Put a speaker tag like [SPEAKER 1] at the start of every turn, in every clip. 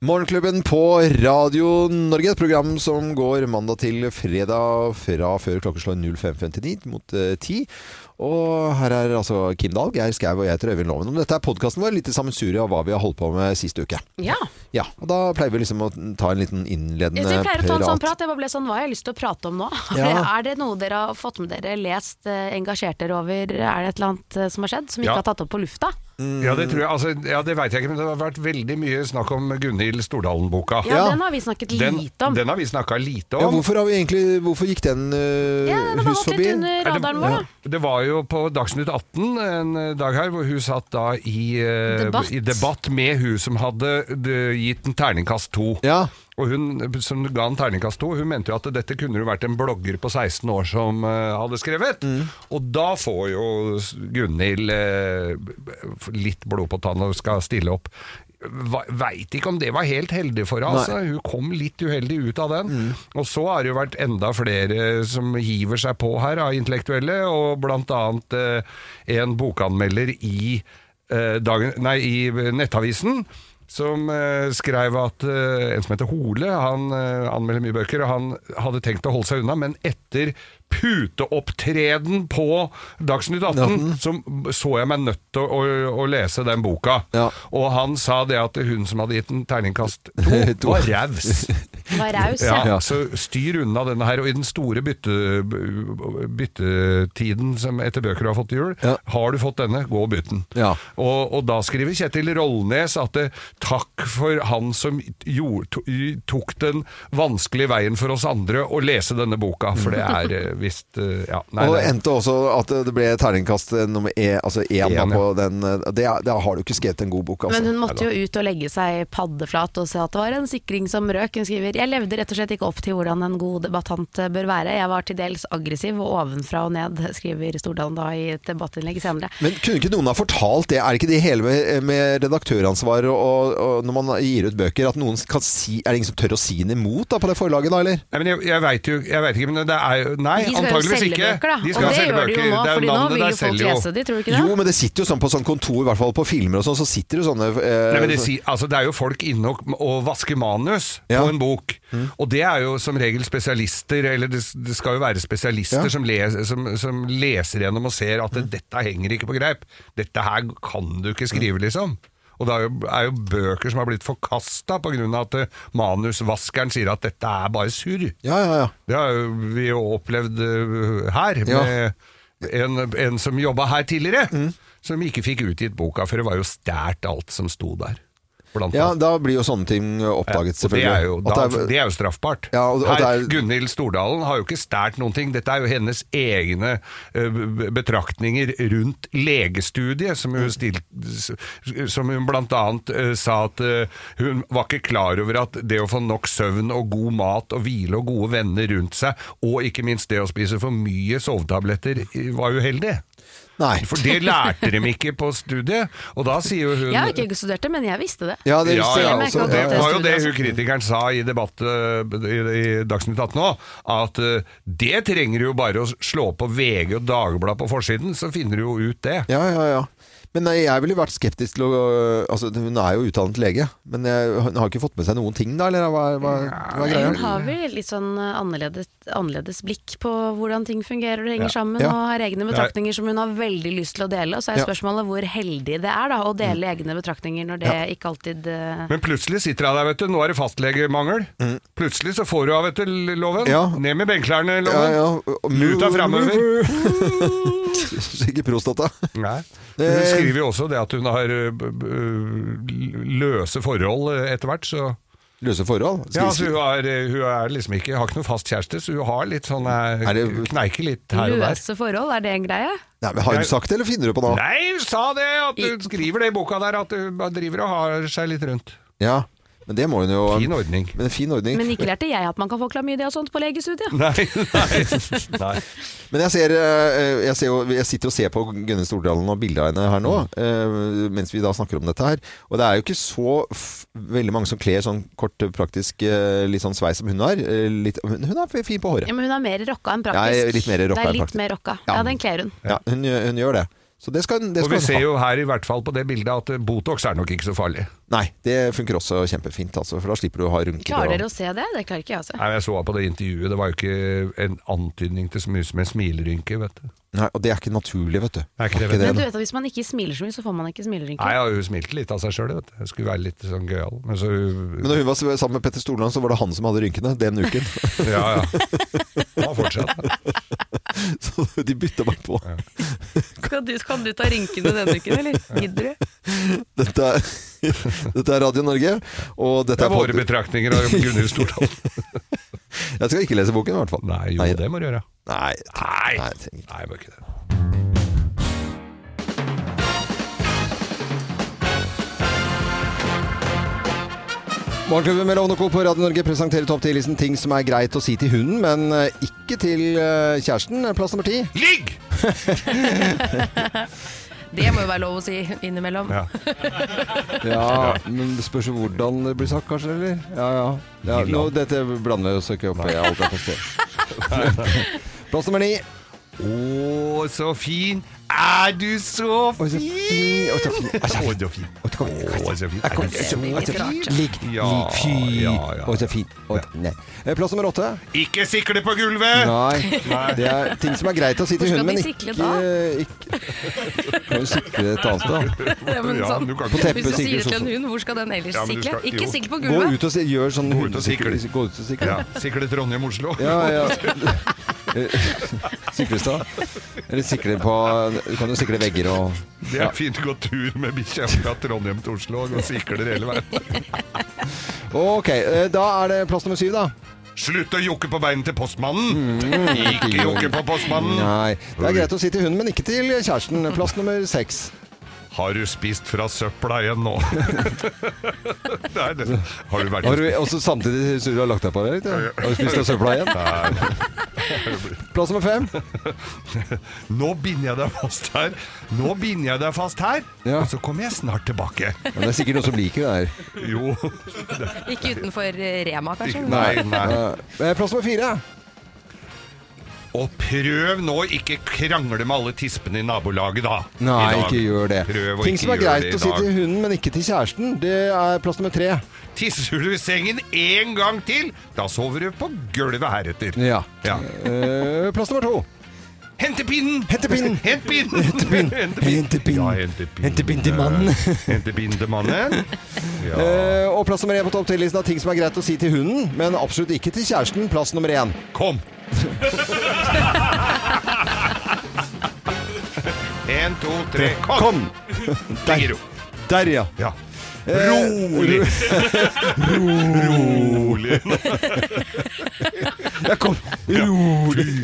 [SPEAKER 1] Morgenklubben på Radio Norge, et program som går mandag til fredag fra før klokkeslår 05.59 mot eh, 10. Og her er altså Kim Dahl, Geir Skau og jeg heter Øyvind Loven. Og Dette er podkasten vår, litt i sammensurie av hva vi har holdt på med sist uke.
[SPEAKER 2] Ja.
[SPEAKER 1] Ja, og da pleier vi liksom å ta en liten
[SPEAKER 2] Jeg,
[SPEAKER 1] innledende
[SPEAKER 2] jeg pleier å ta en sånn
[SPEAKER 1] prat.
[SPEAKER 2] prat. Jeg bare ble sånn, Hva har jeg lyst til å prate om nå?
[SPEAKER 1] eh, Ja.
[SPEAKER 2] Er det noe dere har fått med dere, lest, eh, engasjert dere over? Er det et eller annet eh, som har skjedd som vi
[SPEAKER 3] Ja.
[SPEAKER 2] ikke har tatt opp på lufta?
[SPEAKER 3] Ja, det tror jeg. Altså, ja, det veit jeg ikke, men det har vært veldig mye snakk om Gunhild Stordalen-boka.
[SPEAKER 2] Ja,
[SPEAKER 1] Ja.
[SPEAKER 2] Den har vi snakket
[SPEAKER 3] Den,
[SPEAKER 2] lite om.
[SPEAKER 3] den har vi snakka lite
[SPEAKER 1] Ja,
[SPEAKER 3] om.
[SPEAKER 1] hvorfor, har vi egentlig, hvorfor gikk den eh,
[SPEAKER 2] ja, den har
[SPEAKER 1] hus
[SPEAKER 2] gått litt
[SPEAKER 1] forbi?
[SPEAKER 2] under
[SPEAKER 3] Er det-
[SPEAKER 2] radaren vår. da.
[SPEAKER 3] Det var jo på Dagsnytt 18 en dag her, hvor hun satt da i, eh,
[SPEAKER 2] Debatt.
[SPEAKER 3] i debatt med hun som hadde eh, gitt en terningkast to.
[SPEAKER 1] Ja,
[SPEAKER 3] Og hun som ga en terningkast to, hun mente jo at dette kunne jo vært en blogger på 16 år som eh, hadde skrevet. Og da får jo Gunhild eh, litt blod på tann og skal stille opp. Veit ikke om det var helt heldig for henne. Altså. Hun kom litt uheldig ut av den. Og så har det jo vært enda flere som hiver seg på her av intellektuelle, og blant annet eh, en bokanmelder i, eh, dagen, nei, i Nettavisen som eh, skrev at eh, en som heter Hole, han eh, anmelder mye bøker, og han hadde tenkt å holde seg unna, men etter puteopptreden på Dagsnytt 18, så så jeg meg nødt til å, å, å lese den boka.
[SPEAKER 1] Ja.
[SPEAKER 3] Og han sa det at hun som hadde gitt en terningkast to, var raus.
[SPEAKER 2] Den var raus, ja.
[SPEAKER 3] Ja, altså. så styr unna denne her, og i den store bytte, byttetiden som etter bøker du har fått til jul,
[SPEAKER 1] Ja.
[SPEAKER 3] har du fått denne, gå og bytt den.
[SPEAKER 1] Ja.
[SPEAKER 3] Og, og da skriver Kjetil Rollnes at det, takk for han som gjorde, to, tok den vanskelige veien for oss andre å lese denne boka, for det er eh, visst eh, ja, nei,
[SPEAKER 1] og
[SPEAKER 3] nei.
[SPEAKER 1] endte også at det ble terningkast nummer E, altså én da
[SPEAKER 3] En, ja.
[SPEAKER 1] på den. eh, Det, er- da har du ikke skrevet en god bok, altså.
[SPEAKER 2] Men hun måtte jo ut og legge seg paddeflat og se at det var en sikring som røk. Hun skriver jeg levde rett og slett ikke opp til hvordan en god debattant eh, bør være. Jeg var til dels aggressiv og ovenfra og ned, skriver Stordalen da i et debattinnlegg senere.
[SPEAKER 1] Men kunne ikke noen ha fortalt det? Er det ikke det hele med, med redaktøransvar og, og, og når man gir ut bøker, at noen kan si Er det ingen som tør å si den imot da, på det forlaget, da, eller?
[SPEAKER 3] Nei, men jeg, jeg veit jo jeg vet ikke, men det er jo Nei,
[SPEAKER 2] De skal jo
[SPEAKER 3] antageligvis
[SPEAKER 2] selge
[SPEAKER 3] ikke.
[SPEAKER 2] bøker, da.
[SPEAKER 3] De skal
[SPEAKER 2] og det
[SPEAKER 3] selge
[SPEAKER 2] gjør de jo
[SPEAKER 3] bøker.
[SPEAKER 2] nå,
[SPEAKER 3] Det er
[SPEAKER 2] fordi nå
[SPEAKER 3] navnet
[SPEAKER 2] vil
[SPEAKER 3] der
[SPEAKER 2] jo folk
[SPEAKER 3] selger jo.
[SPEAKER 2] lese de, tror du ikke det?
[SPEAKER 1] Jo, men det sitter jo sånn på sånn kontor, i hvert fall på filmer og sånn, så sitter det sånne eh,
[SPEAKER 3] Nei, men det, si- altså, det er jo folk inne og, og vasker manus
[SPEAKER 1] Ja. Mm.
[SPEAKER 3] på en bok. Og det er jo som regel spesialister, eller det, det skal jo være spesialister
[SPEAKER 1] Ja. Mm.
[SPEAKER 3] som, les, som, som leser gjennom og ser at dette henger ikke på greip. Dette her kan du ikke
[SPEAKER 1] Mm.
[SPEAKER 3] skrive, liksom. Og det er jo, er jo bøker som har blitt forkasta pga. at eh, manusvaskeren sier at dette er bare surr.
[SPEAKER 1] Ja, ja, ja.
[SPEAKER 3] Det har jo vi jo opplevd eh, her,
[SPEAKER 1] Ja. Mm.
[SPEAKER 3] med en, en som jobba her tidligere, som ikke fikk utgitt boka, for det var jo stært alt som sto der. Blant
[SPEAKER 1] Ja,
[SPEAKER 3] annet.
[SPEAKER 1] da blir jo sånne ting oppdaget,
[SPEAKER 3] Og det
[SPEAKER 1] selvfølgelig.
[SPEAKER 3] er, jo,
[SPEAKER 1] At
[SPEAKER 3] da,
[SPEAKER 1] det er-
[SPEAKER 3] det er jo straffbart.
[SPEAKER 1] Ja, og- og
[SPEAKER 3] Her,
[SPEAKER 1] det er-
[SPEAKER 3] Gunhild Stordalen har jo ikke stært noen ting. Dette er jo hennes egne eh, b- betraktninger rundt legestudiet, som hun, stil, s- som hun blant annet eh, sa at eh, hun var ikke klar over at det å få nok søvn og god mat og hvile og gode venner rundt seg, og ikke minst det å spise for mye sovetabletter, eh, var uheldig.
[SPEAKER 1] Nei.
[SPEAKER 3] For det lærte de ikke på studiet, og da sier jo hun
[SPEAKER 2] Jeg har ikke studert det, men jeg visste det.
[SPEAKER 1] Ja, det
[SPEAKER 3] ja,
[SPEAKER 1] visste
[SPEAKER 3] ja, altså,
[SPEAKER 1] jeg altså. også.
[SPEAKER 2] merker at
[SPEAKER 3] det
[SPEAKER 2] det
[SPEAKER 3] var jo
[SPEAKER 2] studiet
[SPEAKER 3] det
[SPEAKER 2] også.
[SPEAKER 3] hun kritikeren sa i debatt eh, i, i Dagsnytt 18 òg, at eh, det trenger du jo bare å slå på VG og Dagbladet på forsiden, så finner du jo ut det.
[SPEAKER 1] Ja, ja, ja. Men nei, jeg ville vært skeptisk til å altså, Hun er jo utdannet lege, men jeg, hun har ikke fått med seg noen ting da, eller hva, hva, hva er
[SPEAKER 2] Nei,
[SPEAKER 1] greia?
[SPEAKER 2] Hun har vel litt sånn eh, annerledes, annerledes blikk på hvordan ting fungerer og henger sammen,
[SPEAKER 1] Ja.
[SPEAKER 2] og har egne betraktninger som hun har veldig lyst til å dele. Og så er
[SPEAKER 1] Ja. Mm.
[SPEAKER 2] spørsmålet hvor heldig det er da, å dele egne betraktninger når det ikke alltid eh,
[SPEAKER 3] Men plutselig sitter hun der, vet du. Nå er det fastlegemangel. Plutselig så får du av, vet du, loven.
[SPEAKER 1] Mm. Ja.
[SPEAKER 3] Ned med benklærne,
[SPEAKER 1] Ja,
[SPEAKER 3] loven.
[SPEAKER 1] ja.
[SPEAKER 3] Muta fremover.
[SPEAKER 1] Sikkert prostata.
[SPEAKER 3] Nei.
[SPEAKER 1] Det-
[SPEAKER 3] Hun skriver jo også det at hun har eh, b- b- løse forhold eh, etter hvert, så
[SPEAKER 1] Løse forhold?
[SPEAKER 3] Ja, altså,
[SPEAKER 1] Skal-
[SPEAKER 3] hun, er, hun er liksom ikke, har ikke noen fast kjæreste, så hun har litt sånn eh,
[SPEAKER 1] Er det-
[SPEAKER 3] Kneiker litt her og der.
[SPEAKER 2] løse forhold. Er det en greie?
[SPEAKER 1] Nei, men Har hun sagt det, eller finner du på nå?
[SPEAKER 3] Nei, hun sa det! At hun skriver det i boka der, at hun bare driver og har seg litt rundt.
[SPEAKER 1] Ja, men det må hun jo
[SPEAKER 3] Fin ordning.
[SPEAKER 1] Men en fin ordning.
[SPEAKER 2] Men ikke lærte jeg at man kan få klamydia og sånt på legestudiet.
[SPEAKER 3] Nei, nei, nei.
[SPEAKER 1] Men jeg, ser, eh, jeg, ser jo, jeg sitter og ser på Gunne Stordalen og bildet av henne her nå,
[SPEAKER 3] Mm.
[SPEAKER 1] eh, mens vi da snakker om dette her. Og det er jo ikke så f veldig mange som kler sånn kort, praktisk eh, litt sånn sveis som hun har. Eh, Litt, men hun er fin på håret.
[SPEAKER 2] Ja, men hun er mer rocka enn
[SPEAKER 1] Ja,
[SPEAKER 2] praktisk.
[SPEAKER 1] litt mer rocka
[SPEAKER 2] det
[SPEAKER 1] enn
[SPEAKER 2] er litt
[SPEAKER 1] praktisk.
[SPEAKER 2] mer rocka.
[SPEAKER 1] Ja.
[SPEAKER 2] Ja, den kler hun.
[SPEAKER 1] Ja, hun, gjør- hun gjør det. Så det skal, det
[SPEAKER 3] Og vi
[SPEAKER 1] skal
[SPEAKER 3] ser jo her i hvert fall på det bildet at eh, Botox er nok ikke så farlig.
[SPEAKER 1] Nei, det funker også kjempefint, altså, for da slipper du å ha rynker.
[SPEAKER 2] Klarer
[SPEAKER 1] og-
[SPEAKER 2] dere å se det? Det klarer ikke jeg å se.
[SPEAKER 3] Nei, jeg så på det intervjuet, det var jo ikke en antydning til så mye som en smilerynke, vet du.
[SPEAKER 1] Nei, og det er ikke naturlig, vet du.
[SPEAKER 3] Er ikke det, vet
[SPEAKER 2] Men du
[SPEAKER 1] da.
[SPEAKER 2] vet at hvis man ikke smiler så mye, så får man ikke
[SPEAKER 3] Nei,
[SPEAKER 2] smilerynker.
[SPEAKER 3] ja, hun smilte litt av seg sjøl, vet du. Jeg skulle være litt sånn gøyal. Men så
[SPEAKER 1] Men da hun var sammen med Petter Stordalen, så var det han som hadde rynkene den uken.
[SPEAKER 3] Ja, ja. Ja, fortsatt.
[SPEAKER 1] så de bytta meg på.
[SPEAKER 2] Kan du, kan du ta rynkene denne uken, eller? Gidder du?
[SPEAKER 1] Dette er, dette er Radio Norge, og dette
[SPEAKER 3] Det
[SPEAKER 1] er
[SPEAKER 3] er våre
[SPEAKER 1] pod-
[SPEAKER 3] betraktninger av Gunhild Stordal.
[SPEAKER 1] Jeg skal ikke lese boken, i hvert fall.
[SPEAKER 3] Nei, jo,
[SPEAKER 1] Nei.
[SPEAKER 3] det må du gjøre.
[SPEAKER 1] Nei, jeg trenger-
[SPEAKER 3] Nei.
[SPEAKER 1] Nei, jeg trenger ikke.
[SPEAKER 3] Nei, må ikke det.
[SPEAKER 1] Morgenklubben med Lovende Co. på Radio Norge presenterer topp 10-listen ting som er greit å si til hunden, men eh, ikke til eh, kjæresten. Plass nummer ti.
[SPEAKER 3] Ligg!
[SPEAKER 2] Det må jo være lov å si innimellom.
[SPEAKER 3] Ja.
[SPEAKER 1] Ja, men det spørs jo hvordan det blir sagt, kanskje, eller? Ja, ja. ja nå, dette blander vi oss ikke opp i. Alt er på sted. Plass nummer ni.
[SPEAKER 3] Å, så fin! Er du så
[SPEAKER 1] Oi, så fin. Oi, så fin.
[SPEAKER 3] Å, så fin!
[SPEAKER 1] Oi, kom igjen, kom
[SPEAKER 3] Å, så fin!
[SPEAKER 1] Kom
[SPEAKER 3] Er du
[SPEAKER 1] igjen,
[SPEAKER 3] så
[SPEAKER 1] kom igjen, kom igjen. Lik,
[SPEAKER 3] Ja,
[SPEAKER 1] lik, fy.
[SPEAKER 3] ja, ja.
[SPEAKER 1] Oi, så fin. Oi, nei. Eh, Plass nummer åtte.
[SPEAKER 3] Ikke sikle på gulvet!
[SPEAKER 1] Nei, det er ting som er greit å si til
[SPEAKER 2] Hvor skal
[SPEAKER 1] hunden, men
[SPEAKER 2] de
[SPEAKER 1] ikke,
[SPEAKER 2] sikle da?
[SPEAKER 1] ikke Kan jo sikle et annet sted, da.
[SPEAKER 2] Ja, men
[SPEAKER 3] Ja,
[SPEAKER 2] sånn,
[SPEAKER 3] du kan
[SPEAKER 1] På
[SPEAKER 3] ikke
[SPEAKER 1] teppet.
[SPEAKER 2] hvis du
[SPEAKER 1] sikler
[SPEAKER 2] sier det til en
[SPEAKER 1] sånn.
[SPEAKER 2] hund, hvor skal den ellers
[SPEAKER 3] Ja, men du
[SPEAKER 2] sikle?
[SPEAKER 3] skal-
[SPEAKER 2] Ikke
[SPEAKER 3] jo.
[SPEAKER 2] sikle på
[SPEAKER 1] Gå
[SPEAKER 2] gulvet!
[SPEAKER 1] ut og si, gjør sånn
[SPEAKER 3] Gå ut og sikle.
[SPEAKER 1] hundesikle- Gå ut og sikle.
[SPEAKER 3] Ja, sikle Trondheim-Oslo.
[SPEAKER 1] Ja, ja. Eh, Syklestad. Eller sikre på Du kan jo sikre vegger og
[SPEAKER 3] Det er fint å gå tur med bikkja fra Trondheim til Oslo og gå sikler hele veien.
[SPEAKER 1] Ok, eh, da er det plass nummer syv, da.
[SPEAKER 3] Slutt å jokke på beinet til postmannen!
[SPEAKER 1] Mm.
[SPEAKER 3] Ikke jokke på postmannen!
[SPEAKER 1] Nei. Det er greit å si til hunden, men ikke til kjæresten. Plass nummer seks.
[SPEAKER 3] Har du spist fra søpla igjen nå? Det er det. Har du vært
[SPEAKER 1] Har du også samtidig så du har lagt deg på det? Litt, ja? Har du spist av søpla igjen?
[SPEAKER 3] Nei.
[SPEAKER 1] Plass nummer fem.
[SPEAKER 3] Nå binder jeg deg fast her. Nå binder jeg deg fast her,
[SPEAKER 1] Ja.
[SPEAKER 3] og så kommer jeg snart tilbake.
[SPEAKER 1] Men det er sikkert noen som liker det her.
[SPEAKER 3] Jo.
[SPEAKER 2] Ikke utenfor eh, Rema, kanskje?
[SPEAKER 3] Nei.
[SPEAKER 1] Eh, Plass nummer fire.
[SPEAKER 3] Og prøv nå å ikke krangle med alle tispene i nabolaget, da. I
[SPEAKER 1] Nei,
[SPEAKER 3] dag.
[SPEAKER 1] ikke gjør det.
[SPEAKER 3] Prøv å
[SPEAKER 1] Ting
[SPEAKER 3] ikke
[SPEAKER 1] som er
[SPEAKER 3] gjøre
[SPEAKER 1] greit
[SPEAKER 3] det i
[SPEAKER 1] å si
[SPEAKER 3] dag.
[SPEAKER 1] til hunden, men ikke til kjæresten, det er plass nummer tre.
[SPEAKER 3] Tisser du i sengen én gang til, da sover du på gulvet heretter.
[SPEAKER 1] Ja.
[SPEAKER 3] Ja.
[SPEAKER 1] Eh, Plass nummer to.
[SPEAKER 3] Hente pinnen!
[SPEAKER 1] Hente pinnen!
[SPEAKER 3] Hent pinnen! Hente
[SPEAKER 1] Hente pinnen.
[SPEAKER 3] Ja, hente pinnen.
[SPEAKER 1] Hente pinnen til mannen.
[SPEAKER 3] Hente pinnen til mannen. Ja.
[SPEAKER 1] Eh, og plass nummer én på topp 10-listen av ting som er greit å si til hunden, men absolutt ikke til kjæresten. Plass nummer én.
[SPEAKER 3] Kom! En, to, tre, kom! Ligger ro.
[SPEAKER 1] Der, ja. Eh,
[SPEAKER 3] Ja. Rolig! Rolig.
[SPEAKER 1] Jeg kom. Rolig.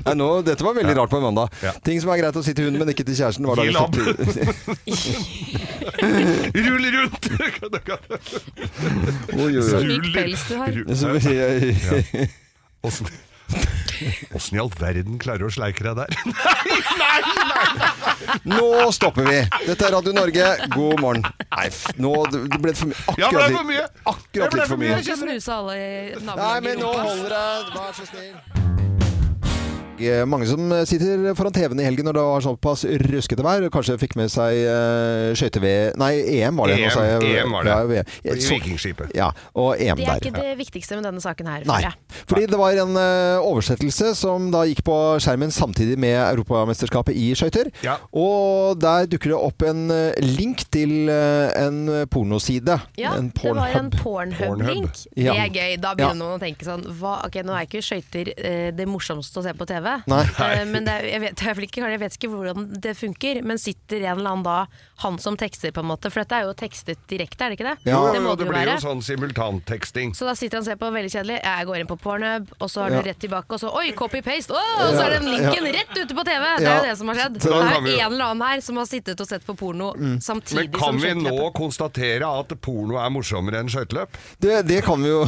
[SPEAKER 1] Nei, nå, dette var veldig rart på en mandag.
[SPEAKER 3] Ja.
[SPEAKER 1] Ting som er greit å si til hunden, men ikke til kjæresten. Var
[SPEAKER 3] Gi
[SPEAKER 1] dagens
[SPEAKER 3] labb.
[SPEAKER 1] topp 10.
[SPEAKER 3] Rull rundt!
[SPEAKER 1] Oi, oi, oi.
[SPEAKER 2] myk pels du har.
[SPEAKER 1] Så vi- jeg-
[SPEAKER 3] Åssen Åssen i all verden klarer du å sleike deg der? Nei, nei, nei!
[SPEAKER 1] Nå stopper vi. Dette er Radio Norge, god morgen. Nei, f- nå det ble det for mye.
[SPEAKER 3] Ja, det ble
[SPEAKER 1] litt-
[SPEAKER 3] for mye. Det
[SPEAKER 1] Akkurat
[SPEAKER 3] ble
[SPEAKER 1] litt for
[SPEAKER 3] for
[SPEAKER 1] mye.
[SPEAKER 3] mye.
[SPEAKER 2] Du skal snuse alle i
[SPEAKER 1] Nei,
[SPEAKER 2] nabolaget.
[SPEAKER 1] men
[SPEAKER 2] i
[SPEAKER 1] nå
[SPEAKER 2] rumpa.
[SPEAKER 1] holder det. Vær så snill. Eh, Mange som sitter foran TV-en i helgen når det var såpass røskete vær. Kanskje fikk med seg uh, skøyte-VM Nei, EM E var det. nå
[SPEAKER 3] EM,
[SPEAKER 1] sa jeg.
[SPEAKER 3] EM var det.
[SPEAKER 1] Ja, VM.
[SPEAKER 3] I
[SPEAKER 1] Så-
[SPEAKER 3] Vikingskipet.
[SPEAKER 1] Ja, og EM
[SPEAKER 2] Det
[SPEAKER 1] der.
[SPEAKER 2] er ikke det viktigste med denne saken her.
[SPEAKER 1] Nei.
[SPEAKER 2] føler jeg.
[SPEAKER 1] Fordi det var en eh, oversettelse som da gikk på skjermen samtidig med Europamesterskapet i skøyter.
[SPEAKER 3] Ja.
[SPEAKER 1] Og der dukker det opp en eh, link til eh, en pornoside.
[SPEAKER 2] Ja,
[SPEAKER 1] en
[SPEAKER 2] det var en
[SPEAKER 3] Pornhub.
[SPEAKER 2] pornhub-link. Det
[SPEAKER 1] Ja.
[SPEAKER 2] er gøy. Da
[SPEAKER 1] Ja.
[SPEAKER 2] begynner noen å tenke sånn hva, Ok, nå er ikke skøyter eh, det morsomste å se på TV.
[SPEAKER 1] Nei.
[SPEAKER 2] Eh, men det er, jeg, vet, jeg, vil ikke, jeg vet ikke hvordan det funker. Men sitter en eller annen da, han som tekster, på en måte. For dette er jo tekstet direkte, er det ikke det?
[SPEAKER 1] Ja,
[SPEAKER 2] det må det
[SPEAKER 3] det
[SPEAKER 2] jo
[SPEAKER 3] blir jo
[SPEAKER 2] være.
[SPEAKER 3] sånn simultanteksting.
[SPEAKER 2] Så da sitter han og ser på veldig kjedelig. Jeg går inn på pornhub, og så har
[SPEAKER 1] Ja.
[SPEAKER 2] du rett tilbake, og så oi, copy-paste! Å, og så er den linken rett ute på TV! Det er
[SPEAKER 1] Ja.
[SPEAKER 2] jo det som har skjedd.
[SPEAKER 1] Så Mm.
[SPEAKER 2] Det
[SPEAKER 3] da
[SPEAKER 2] er
[SPEAKER 3] kan vi
[SPEAKER 2] en
[SPEAKER 3] jo-
[SPEAKER 2] eller annen her som har sittet og sett på porno samtidig
[SPEAKER 3] Men kan
[SPEAKER 2] som
[SPEAKER 3] vi
[SPEAKER 2] skøyteløpet.
[SPEAKER 3] nå konstatere at porno er morsommere enn skøyteløp?
[SPEAKER 1] Det, det kan vi jo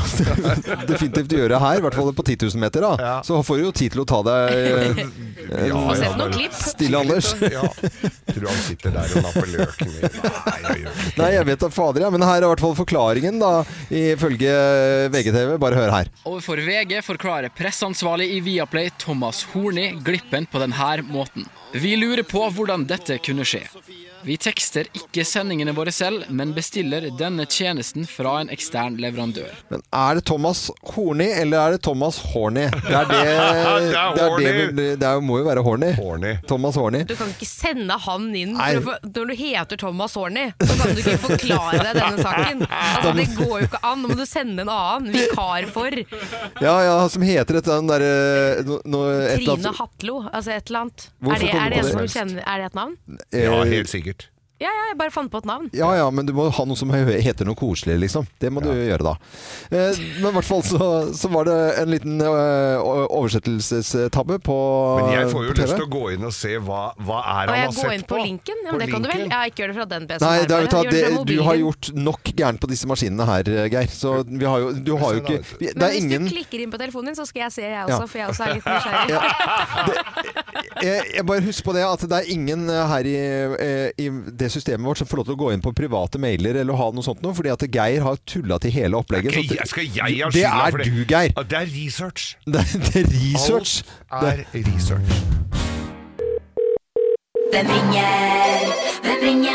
[SPEAKER 1] definitivt gjøre her, i hvert fall på 10 000 meter. Da.
[SPEAKER 3] Ja.
[SPEAKER 1] Så får du jo tid til å ta deg deg, Eh,
[SPEAKER 3] Ja,
[SPEAKER 2] Få
[SPEAKER 3] ja,
[SPEAKER 2] sett noen
[SPEAKER 3] bare-
[SPEAKER 2] klipp.
[SPEAKER 1] Stille Anders.
[SPEAKER 3] Ja. Tror du han sitter der og napper løken min? Nei, jeg gjør ikke det.
[SPEAKER 1] Nei, jeg vet da fader, ja, men her er i hvert fall forklaringen, da, ifølge eh, VGTV. Bare hør her.
[SPEAKER 4] Overfor VG forklarer presseansvarlig i Viaplay Thomas Horni glippen på denne måten. Vi lurer på hvordan dette kunne skje. Vi tekster ikke sendingene våre selv, men bestiller denne tjenesten fra en ekstern leverandør.
[SPEAKER 1] Men er det Thomas Horny, eller er det Thomas Horny? Det er det Det,
[SPEAKER 3] er
[SPEAKER 1] er det,
[SPEAKER 3] Horny.
[SPEAKER 1] vel- det er, må jo være Horny.
[SPEAKER 3] Horny.
[SPEAKER 1] Thomas Horny.
[SPEAKER 5] Du kan ikke sende han inn
[SPEAKER 1] Nei.
[SPEAKER 5] for å få, når du heter Thomas Horny. Så kan du ikke forklare deg denne saken. Altså, det går jo ikke an. Nå må du sende en annen vikar for.
[SPEAKER 1] Ja, ja, som heter et eller annet derre no, no, et
[SPEAKER 5] Trine
[SPEAKER 1] eller annet-
[SPEAKER 5] Hatlo, altså et eller annet.
[SPEAKER 1] Hvorfor
[SPEAKER 5] Er det,
[SPEAKER 1] kom du
[SPEAKER 5] er, det
[SPEAKER 1] på
[SPEAKER 5] en som
[SPEAKER 1] det?
[SPEAKER 5] kjenner, er det et navn?
[SPEAKER 1] eh,
[SPEAKER 3] Ja, helt sikkert.
[SPEAKER 5] Ja, ja, jeg bare fant på et navn.
[SPEAKER 1] Ja ja, men du må ha noe som heter noe koselig, liksom. Det må du gjøre da. Eh, Men i hvert fall så, så var det en liten eh, o- oversettelsestabbe på
[SPEAKER 3] Men jeg får jo
[SPEAKER 1] på TV.
[SPEAKER 3] lyst til å gå inn og se hva, hva
[SPEAKER 5] Og
[SPEAKER 3] er
[SPEAKER 5] jeg
[SPEAKER 3] han har
[SPEAKER 5] går inn
[SPEAKER 3] sett
[SPEAKER 5] på
[SPEAKER 3] på.
[SPEAKER 5] linken. Ja,
[SPEAKER 3] På
[SPEAKER 5] men det kan du vel?
[SPEAKER 3] linken.
[SPEAKER 5] Ja, ikke gjør det fra den PC-en.
[SPEAKER 1] Nei,
[SPEAKER 5] her,
[SPEAKER 1] det, er-
[SPEAKER 5] bare.
[SPEAKER 1] vet du hva,
[SPEAKER 5] Gjør det fra
[SPEAKER 1] det, du har
[SPEAKER 5] mobilen.
[SPEAKER 1] gjort nok gærent på disse maskinene her, eh, Geir. Så vi har jo, du har jo ikke vi, Det
[SPEAKER 5] Men
[SPEAKER 1] er
[SPEAKER 5] hvis
[SPEAKER 1] ingen
[SPEAKER 5] du klikker inn på telefonen din, så skal jeg se, jeg
[SPEAKER 1] Ja.
[SPEAKER 5] også. For jeg også er litt nysgjerrig.
[SPEAKER 1] jeg, jeg bare husker på det at det er ingen eh, her i, eh, i det systemet vårt som får lov til å gå inn på private mailer eller ha noe sånt noe, fordi at Geir har tulla til hele opplegget.
[SPEAKER 3] Skal
[SPEAKER 1] så
[SPEAKER 3] jeg, skal jeg ha
[SPEAKER 1] det
[SPEAKER 3] skylda
[SPEAKER 1] er
[SPEAKER 3] for det?
[SPEAKER 1] du, Geir.
[SPEAKER 3] Ja, Det er research.
[SPEAKER 1] Det er, det er research.
[SPEAKER 3] Alt er research.
[SPEAKER 6] Hvem ringer? Hvem ringer? Hvem ringer?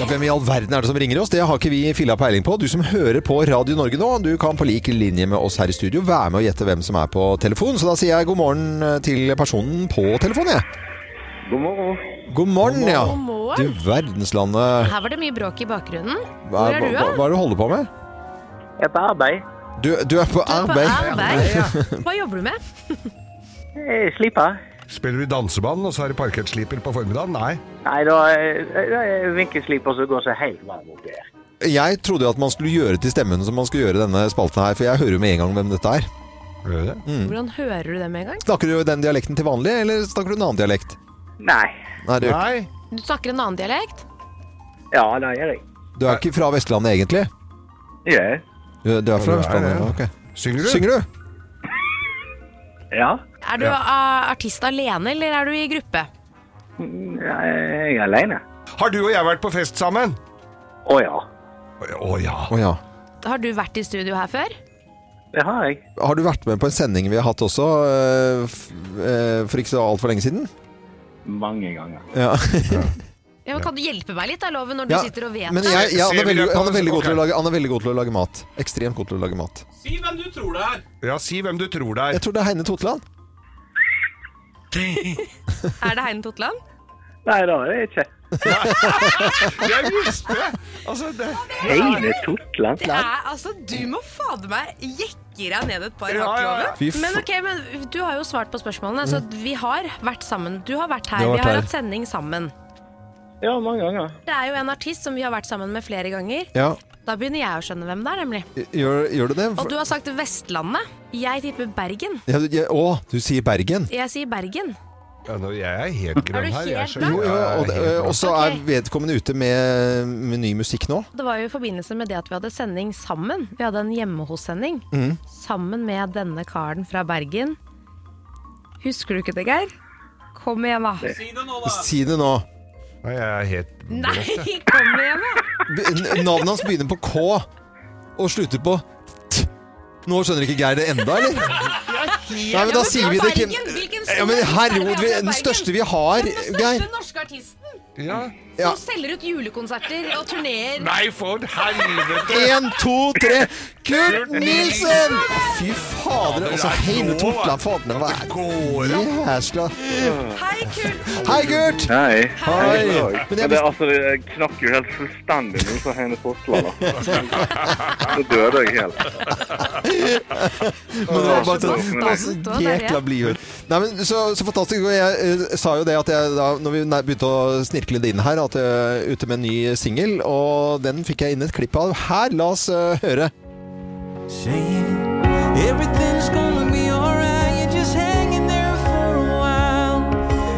[SPEAKER 1] Ja, Hvem i all verden er det som ringer oss? Det har ikke vi filla peiling på. Du som hører på Radio Norge nå, du kan på lik linje med oss her i studio være med og gjette hvem som er på telefon. Så da sier jeg god morgen eh, til personen på telefonen, jeg.
[SPEAKER 7] God morgen.
[SPEAKER 1] God morgen, ja.
[SPEAKER 2] God morgen.
[SPEAKER 1] Du verdenslandet.
[SPEAKER 2] Her var det mye bråk i bakgrunnen.
[SPEAKER 1] Hva,
[SPEAKER 2] Hvor er
[SPEAKER 1] hva,
[SPEAKER 2] du,
[SPEAKER 1] hva, hva
[SPEAKER 2] da?
[SPEAKER 1] er det du holder på med?
[SPEAKER 7] Jeg er på arbeid.
[SPEAKER 1] Du, du er på arbeid.
[SPEAKER 2] arbeid. Hva jobber du med?
[SPEAKER 7] Jeg slipper.
[SPEAKER 3] Spiller du i danseband, og så er det parkettsliper på formiddagen? Nei.
[SPEAKER 7] Nei, da er- da er vinkelsliper som går seg helt varm opp der.
[SPEAKER 1] Jeg trodde jo at man skulle gjøre til stemmen som man skulle gjøre i denne spalten her, for jeg hører jo med en gang hvem dette er.
[SPEAKER 3] Gjør du det?
[SPEAKER 1] Mm.
[SPEAKER 2] Hvordan hører du det med en gang?
[SPEAKER 1] Snakker du den dialekten til vanlig, eller snakker du en annen dialekt?
[SPEAKER 7] Nei.
[SPEAKER 1] Nei, du,
[SPEAKER 3] Nei.
[SPEAKER 2] Du snakker en annen dialekt?
[SPEAKER 7] Ja, det gjør jeg.
[SPEAKER 1] du er ikke fra Vestlandet egentlig?
[SPEAKER 7] Ja.
[SPEAKER 1] Du, du er fra
[SPEAKER 3] Ja, det er
[SPEAKER 1] Vestlandet,
[SPEAKER 3] det,
[SPEAKER 1] ok.
[SPEAKER 3] Synger du?
[SPEAKER 1] Synger du?
[SPEAKER 7] Ja.
[SPEAKER 2] Er du
[SPEAKER 3] Ja.
[SPEAKER 2] eh, artist alene, eller er du i gruppe?
[SPEAKER 7] Ja, Jeg er alene.
[SPEAKER 3] Har du og jeg vært på fest sammen?
[SPEAKER 7] Å ja.
[SPEAKER 3] Å å ja.
[SPEAKER 1] Å ja.
[SPEAKER 2] Har du vært i studio her før?
[SPEAKER 7] Det har jeg.
[SPEAKER 1] Har du vært med på en sending vi har hatt også, eh, f- eh, for ikke så altfor lenge siden?
[SPEAKER 7] Mange ganger.
[SPEAKER 1] Ja.
[SPEAKER 2] Ja, men kan du hjelpe meg litt, da, Loven, når du
[SPEAKER 1] Ja,
[SPEAKER 2] sitter og vet
[SPEAKER 1] Men
[SPEAKER 2] det?
[SPEAKER 1] jeg, ja, han, er
[SPEAKER 3] Ser vi
[SPEAKER 1] veldig,
[SPEAKER 3] det på
[SPEAKER 1] han, er
[SPEAKER 3] det?
[SPEAKER 1] veldig god til å
[SPEAKER 3] Ok.
[SPEAKER 1] lage, han er veldig god til å lage mat. Ekstremt god til å lage mat.
[SPEAKER 8] Si hvem du tror det er.
[SPEAKER 3] Ja, si hvem du tror det
[SPEAKER 1] Jeg
[SPEAKER 3] er.
[SPEAKER 1] tror det er Heine Totland.
[SPEAKER 5] Er det Heine Totland?
[SPEAKER 7] Nei, det har jeg ikke.
[SPEAKER 3] Jeg visste det! Altså, det
[SPEAKER 7] Heine Totland.
[SPEAKER 5] Det er, altså, du må fader meg jekke deg ned et par
[SPEAKER 3] Ja,
[SPEAKER 5] hakk,
[SPEAKER 3] ja, ja.
[SPEAKER 5] Loven.
[SPEAKER 1] Fy f-
[SPEAKER 2] Men ok, men du har jo svart på spørsmålene. Så vi har vært sammen. Du har vært her,
[SPEAKER 1] Mm. Du har vært
[SPEAKER 2] vi har
[SPEAKER 1] her.
[SPEAKER 2] hatt sending sammen.
[SPEAKER 7] Ja, mange ganger.
[SPEAKER 2] Det er jo en artist som vi har vært sammen med flere ganger.
[SPEAKER 1] Ja,
[SPEAKER 2] Da begynner jeg å skjønne hvem det er, nemlig.
[SPEAKER 1] gjør, gjør du det?
[SPEAKER 2] Og du har sagt Vestlandet. Jeg tipper Bergen.
[SPEAKER 1] Ja, du- ja, å, du sier Bergen.
[SPEAKER 2] Jeg sier Bergen.
[SPEAKER 3] ja, nå, Jeg er helt grønn her. Jeg
[SPEAKER 2] helt
[SPEAKER 3] skjønner-
[SPEAKER 1] Jo, jo,
[SPEAKER 3] jeg er
[SPEAKER 1] og, øh,
[SPEAKER 3] helt grønn.
[SPEAKER 1] og så er
[SPEAKER 2] Ok.
[SPEAKER 1] vedkommende ute med, med ny musikk nå.
[SPEAKER 2] Det var jo i forbindelse med det at vi hadde sending sammen. Vi hadde en hjemme hos-sending
[SPEAKER 1] Mm.
[SPEAKER 2] sammen med denne karen fra Bergen. Husker du ikke det, Geir? Kom igjen, da.
[SPEAKER 8] Si det nå, da.
[SPEAKER 1] Si det nå.
[SPEAKER 3] Nei, Jeg er helt
[SPEAKER 5] Nei, kom igjen, da!
[SPEAKER 1] B- n- Navnet hans begynner på K og slutter på T. Nå skjønner ikke Geir det enda, eller? Nei, men da sier vi det ikke.
[SPEAKER 5] Bergen, hvilken
[SPEAKER 1] Ja, men
[SPEAKER 5] stor
[SPEAKER 1] herregud,
[SPEAKER 5] artist er
[SPEAKER 1] vi-
[SPEAKER 5] det fra
[SPEAKER 1] den
[SPEAKER 5] Bergen?
[SPEAKER 1] største vi har,
[SPEAKER 5] Den
[SPEAKER 1] Geir.
[SPEAKER 5] største norske artisten
[SPEAKER 3] ja.
[SPEAKER 1] Ja.
[SPEAKER 5] som selger ut julekonserter og turneer.
[SPEAKER 3] Nei, for helvete!
[SPEAKER 1] Én, to, tre Kurt Nilsen! Fy fader, altså, og så Heine Totland. Fader, hva er
[SPEAKER 3] Går
[SPEAKER 1] det jæskla
[SPEAKER 5] Hei, Kurt!
[SPEAKER 1] Hei, Kurt!
[SPEAKER 7] Nei.
[SPEAKER 1] Hei. Men jeg, bes-
[SPEAKER 7] altså, det knakk jo helt fullstendig nå som Heine Totland. Så døde jeg helt.
[SPEAKER 1] men det var
[SPEAKER 5] så
[SPEAKER 1] bare sånn-
[SPEAKER 5] bastant også, der, ja.
[SPEAKER 1] Jækla blid hund. Nei, men så, så fantastisk. Og jeg eh, sa jo det at jeg da Når vi nær- begynte å snirkle det inn her, at jeg er ute med en ny singel, og den fikk jeg inn et klipp av her. La oss eh, høre.
[SPEAKER 9] Everything's gonna be alright. You're just hanging there for a while.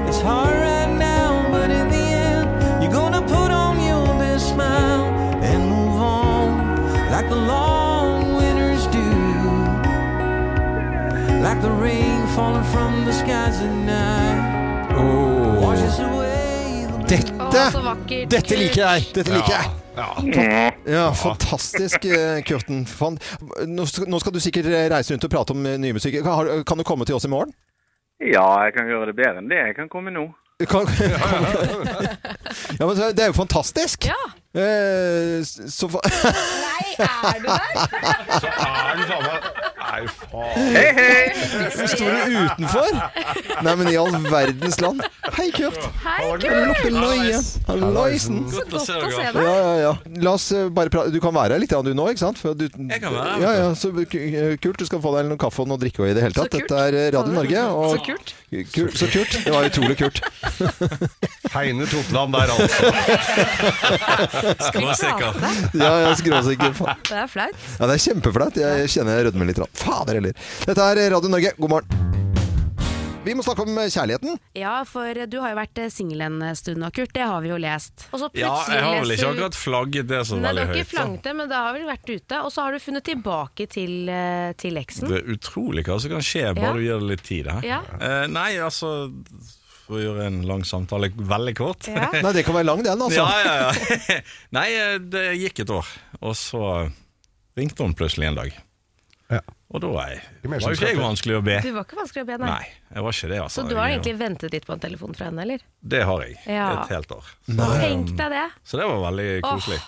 [SPEAKER 9] It's hard right now, but in the end, you're gonna put on your best smile and move on like the long winters do, like the rain falling from the skies at night. Washes away the
[SPEAKER 1] Dette,
[SPEAKER 5] Å, så vakkert.
[SPEAKER 1] dette liker jeg! Dette liker jeg.
[SPEAKER 3] Ja,
[SPEAKER 1] Ja, fantastisk, eh, Kurten. Fan. Nå skal nå skal du sikkert reise rundt og prate om eh, ny musikk. Kan, har- kan du komme til oss i morgen?
[SPEAKER 7] Ja, jeg kan gjøre det bedre enn det. Jeg kan komme nå.
[SPEAKER 1] Kan, ja, men det er jo fantastisk!
[SPEAKER 5] Ja.
[SPEAKER 1] Eh, så fa
[SPEAKER 5] Nei, er du der?
[SPEAKER 3] Så er den faen meg Nei, faen.
[SPEAKER 7] Hei, hei!
[SPEAKER 1] Står du utenfor? Nei, men i all verdens land. Hei, Kurt.
[SPEAKER 5] Hei,
[SPEAKER 1] Loppeloie. Halloisen.
[SPEAKER 8] Så godt å se
[SPEAKER 5] Godt å se
[SPEAKER 8] dere.
[SPEAKER 1] Ja,
[SPEAKER 5] deg.
[SPEAKER 1] ja, ja. La oss eh, bare prate. Du kan være her litt ja, du nå, ikke sant? For du, jeg
[SPEAKER 8] kan være her,
[SPEAKER 1] Ja, ja, så ku- kult. Du skal få deg noe kaffe og noe drikke og i det hele tatt.
[SPEAKER 5] Så kult.
[SPEAKER 1] Dette er eh, Radio Norge. Og
[SPEAKER 5] Så kult.
[SPEAKER 1] Kult, så kult. Det var utrolig kult.
[SPEAKER 3] Heine Totland der, altså.
[SPEAKER 8] Skråsikker.
[SPEAKER 1] Ja, jeg skråsikker. Faen.
[SPEAKER 5] Det er flaut.
[SPEAKER 1] Ja, det er kjempeflaut. Jeg kjenner jeg rødmer litt. Fader heller. Dette er Radio Norge, god morgen. Vi må snakke om eh, kjærligheten.
[SPEAKER 2] Ja, for du har jo vært eh, singel en stund nå, Kurt. Det har vi jo lest.
[SPEAKER 5] Og så
[SPEAKER 8] Ja,
[SPEAKER 5] plutselig
[SPEAKER 8] jeg har vel ikke
[SPEAKER 5] leser-
[SPEAKER 8] akkurat flagget det så
[SPEAKER 5] Nei, du
[SPEAKER 8] veldig
[SPEAKER 5] har ikke
[SPEAKER 8] høyt. da.
[SPEAKER 5] flagget det, men det har vel vært ute. Og så har du funnet tilbake til, eh, til eksen.
[SPEAKER 8] Det er utrolig hva som kan skje, bare
[SPEAKER 5] Ja.
[SPEAKER 8] du gir det litt tid. Her.
[SPEAKER 5] Ja.
[SPEAKER 8] Eh, nei, altså For å gjøre en lang samtale veldig kort.
[SPEAKER 5] Ja.
[SPEAKER 1] Nei, det kan være lang, den, altså.
[SPEAKER 8] ja, ja, ja. Nei, eh, det gikk et år, og så ringte hun plutselig en dag.
[SPEAKER 3] Ja.
[SPEAKER 8] Og da var jeg-
[SPEAKER 3] er mer som
[SPEAKER 8] var jo ikke jeg
[SPEAKER 3] skrattet.
[SPEAKER 8] vanskelig å be.
[SPEAKER 5] Du var ikke vanskelig å be, nei.
[SPEAKER 8] Nei, jeg var ikke det, altså.
[SPEAKER 5] Så du har
[SPEAKER 8] Jeg-
[SPEAKER 5] egentlig ventet litt på en telefon fra henne, eller?
[SPEAKER 8] Det har jeg.
[SPEAKER 5] Ja.
[SPEAKER 8] Et helt år.
[SPEAKER 5] Tenk deg det.
[SPEAKER 8] Så det var veldig
[SPEAKER 5] Åh,
[SPEAKER 8] koselig.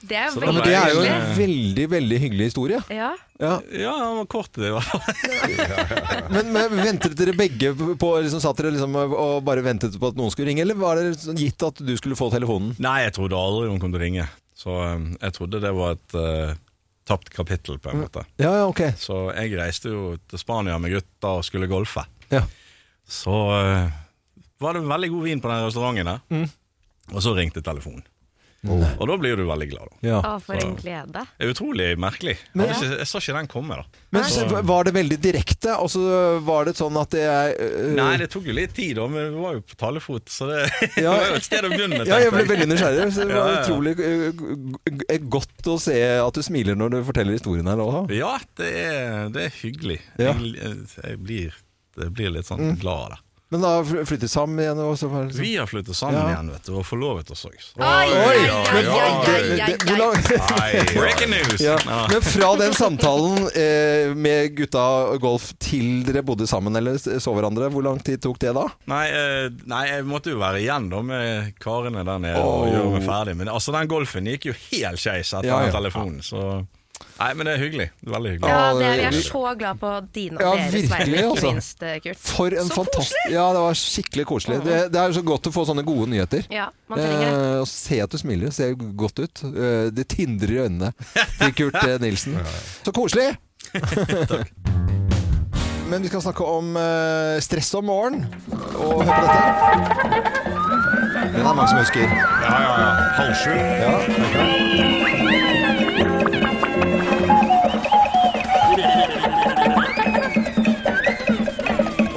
[SPEAKER 5] Det er jo
[SPEAKER 8] Så da
[SPEAKER 1] Ja, men
[SPEAKER 5] veldig
[SPEAKER 1] det er jo en
[SPEAKER 5] hyggelig.
[SPEAKER 1] veldig, veldig hyggelig historie.
[SPEAKER 5] Ja.
[SPEAKER 1] Ja.
[SPEAKER 8] Ja, han var kort i det, i hvert fall.
[SPEAKER 1] Men, men ventet dere begge på liksom, Satt dere liksom og bare ventet på at noen skulle ringe, eller var det sånn gitt at du skulle få telefonen?
[SPEAKER 8] Nei, jeg trodde aldri hun kom til å ringe. Så eh, jeg trodde det var et eh, tapt kapittel, på
[SPEAKER 3] Mm.
[SPEAKER 8] en måte.
[SPEAKER 1] Ja, ja, ok.
[SPEAKER 8] Så jeg reiste jo til Spania med gutta og skulle golfe.
[SPEAKER 1] Ja.
[SPEAKER 8] Så eh, var det veldig god vin på den restauranten der.
[SPEAKER 1] Mm.
[SPEAKER 8] Og så ringte telefonen. Og da blir du veldig glad, da.
[SPEAKER 1] Ja.
[SPEAKER 5] Å, for en glede.
[SPEAKER 8] Det er utrolig merkelig. Jeg, hadde ikke, jeg så ikke den komme, da.
[SPEAKER 1] Men så var det veldig direkte, og så var det sånn at det er øh,
[SPEAKER 8] Nei, det tok jo litt tid, da, men vi var jo på talefot, så det, det
[SPEAKER 1] Ja.
[SPEAKER 8] var jo et sted å begynne.
[SPEAKER 1] Ja, jeg ble
[SPEAKER 8] tenkte
[SPEAKER 1] veldig nysgjerrig. Så det
[SPEAKER 8] Ja,
[SPEAKER 1] var
[SPEAKER 8] ja, ja.
[SPEAKER 1] utrolig øh, g- g- godt å se at du smiler når du forteller historien her også.
[SPEAKER 8] Ja, det er, det er hyggelig.
[SPEAKER 1] Ja. Mm.
[SPEAKER 8] Jeg, jeg, blir, jeg blir litt sånn glad av det.
[SPEAKER 1] Men da fly- flyttet sammen igjen, og så var det liksom-
[SPEAKER 8] Vi har flyttet sammen
[SPEAKER 1] Ja. Ah.
[SPEAKER 8] igjen, vet du, og forlovet oss òg.
[SPEAKER 5] Oi, oi, oi, oi, oi,
[SPEAKER 1] Hvor
[SPEAKER 5] oi.
[SPEAKER 1] lang-
[SPEAKER 8] Breaking news!
[SPEAKER 1] Ja.
[SPEAKER 8] Ja.
[SPEAKER 1] Men fra den samtalen eh, med gutta og golf til dere bodde sammen eller så hverandre, hvor lang tid tok det da?
[SPEAKER 8] Nei, eh, nei, jeg måtte jo være igjen da med karene der nede og gjøre meg ferdig. Men altså, den golfen gikk jo helt skeis etter
[SPEAKER 1] Ja, ja.
[SPEAKER 8] den telefonen, så Nei, men det er hyggelig. Veldig hyggelig.
[SPEAKER 5] Ja, det er,
[SPEAKER 1] det-
[SPEAKER 5] jeg er så glad på dine og
[SPEAKER 1] Ja,
[SPEAKER 5] deres
[SPEAKER 1] virkelig,
[SPEAKER 5] vegne, ikke
[SPEAKER 1] altså.
[SPEAKER 5] minst, eh, Kurt.
[SPEAKER 1] For en fantastisk Ja, det var skikkelig koselig. Det, det er så godt å få sånne gode nyheter.
[SPEAKER 5] Ja, man trenger det.
[SPEAKER 1] Eh, og se at du smiler, ser godt ut. Eh, det tindrer i øynene til Kurt eh, Nilsen. Så koselig! Men vi skal snakke om eh, stress om morgenen. Og hør på dette. Den er mange som husker.
[SPEAKER 3] Ja, ja, ja. Halv sju.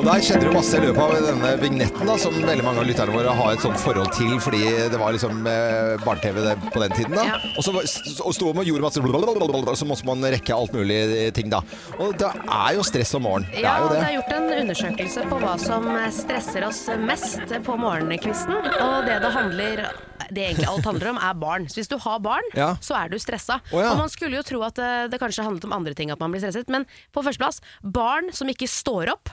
[SPEAKER 1] Og der kjenner du masse i løpet av denne vignetten da, som veldig mange av lytterne våre har et sånt forhold til, fordi det var liksom eh, barne-TV det- på den tiden. da.
[SPEAKER 5] Ja.
[SPEAKER 1] Og så var- s- og sto man og gjorde masse blablabla, og så måtte man rekke alt mulig eh, ting da. Og det er jo stress om morgenen. Det
[SPEAKER 2] Ja,
[SPEAKER 1] er
[SPEAKER 2] og
[SPEAKER 1] jo
[SPEAKER 2] det
[SPEAKER 1] det.
[SPEAKER 2] er gjort en undersøkelse på hva som stresser oss mest på morgenkvisten. Og det det handler det egentlig alt handler om, er barn. Så hvis du har barn,
[SPEAKER 1] Ja.
[SPEAKER 2] så er du stressa.
[SPEAKER 1] Å, ja.
[SPEAKER 2] Og man skulle jo tro at det, det kanskje handlet om andre ting at man blir stresset, men på førsteplass barn som ikke står opp.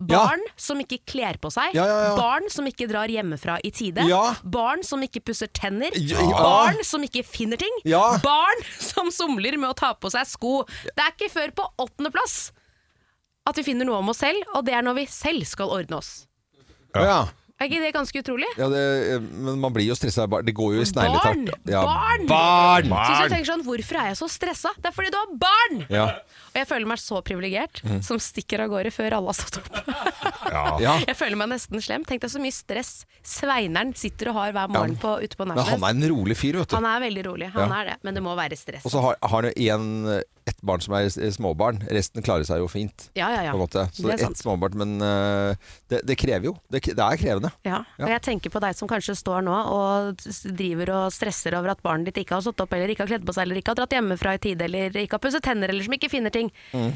[SPEAKER 1] Ja.
[SPEAKER 2] Barn som ikke kler på seg,
[SPEAKER 1] Ja, ja, ja.
[SPEAKER 2] barn som ikke drar hjemmefra i tide,
[SPEAKER 1] Ja.
[SPEAKER 2] barn som ikke pusser tenner,
[SPEAKER 1] Ja.
[SPEAKER 2] barn som ikke finner ting,
[SPEAKER 1] Ja.
[SPEAKER 2] barn som somler med å ta på seg sko. Det er ikke før på åttendeplass at vi finner noe om oss selv, og det er når vi selv skal ordne oss.
[SPEAKER 1] Ja.
[SPEAKER 2] Er ikke det ganske utrolig?
[SPEAKER 1] Ja, det, eh, men man blir jo stressa. av barn. Det går jo i
[SPEAKER 2] Barn!
[SPEAKER 1] sneglefart. Ja.
[SPEAKER 2] Barn!
[SPEAKER 1] Barn!
[SPEAKER 2] Så hvis du tenker sånn, Hvorfor er jeg så stressa? Det er fordi du har barn!
[SPEAKER 1] Ja. Mm.
[SPEAKER 2] Og jeg føler meg så privilegert som stikker av gårde før alle har stått opp.
[SPEAKER 1] ja.
[SPEAKER 2] Jeg føler meg nesten slem. Tenk deg så mye stress Sveineren sitter og har hver morgen på, ute på
[SPEAKER 1] Men han
[SPEAKER 2] nachspiel.
[SPEAKER 1] er en rolig fyr, vet du.
[SPEAKER 2] Han er veldig rolig, han
[SPEAKER 1] Ja.
[SPEAKER 2] er det. Men det må være stress.
[SPEAKER 1] Og så har, har han jo en- ett barn som er s- eh, småbarn. Resten klarer seg jo fint.
[SPEAKER 2] Ja, ja, ja.
[SPEAKER 1] på en måte. Så
[SPEAKER 2] Det
[SPEAKER 1] det
[SPEAKER 2] er
[SPEAKER 1] er
[SPEAKER 2] sant.
[SPEAKER 1] ett småbarn, men eh, det, det krever jo. Det, det er krevende.
[SPEAKER 2] Ja, og jeg tenker på deg som kanskje står nå og s- driver og stresser over at barnet ditt ikke har stått opp, eller ikke har kledd på seg, eller ikke har dratt hjemmefra i tide, eller ikke har pusset tenner, eller som ikke finner ting. Mm.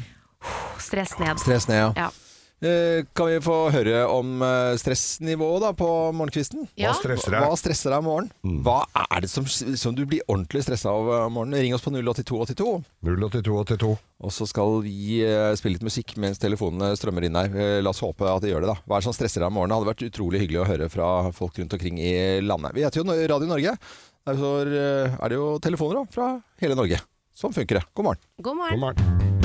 [SPEAKER 2] Stress ned.
[SPEAKER 1] Stress ned, ja.
[SPEAKER 2] Ja.
[SPEAKER 1] Eh, Kan vi få høre om eh, stressnivået da på morgenkvisten?
[SPEAKER 2] Ja.
[SPEAKER 3] Hva stresser deg? Mm.
[SPEAKER 1] Hva stresser deg om morgenen? Hva er det som, som du blir ordentlig stressa av eh, om morgenen? Ring oss på 08282,
[SPEAKER 3] 08282.
[SPEAKER 1] og så skal vi eh, spille litt musikk mens telefonene strømmer inn her. Eh, La oss håpe at de gjør det, da. Hva er det som stresser deg om morgenen? Det hadde vært utrolig hyggelig å høre fra folk rundt omkring i landet. Vi heter jo Nor- Radio Norge. Der eh, er det jo telefoner da, fra hele Norge. Sånn funker det. God morgen.
[SPEAKER 2] God
[SPEAKER 3] God
[SPEAKER 2] morgen.
[SPEAKER 3] morgen.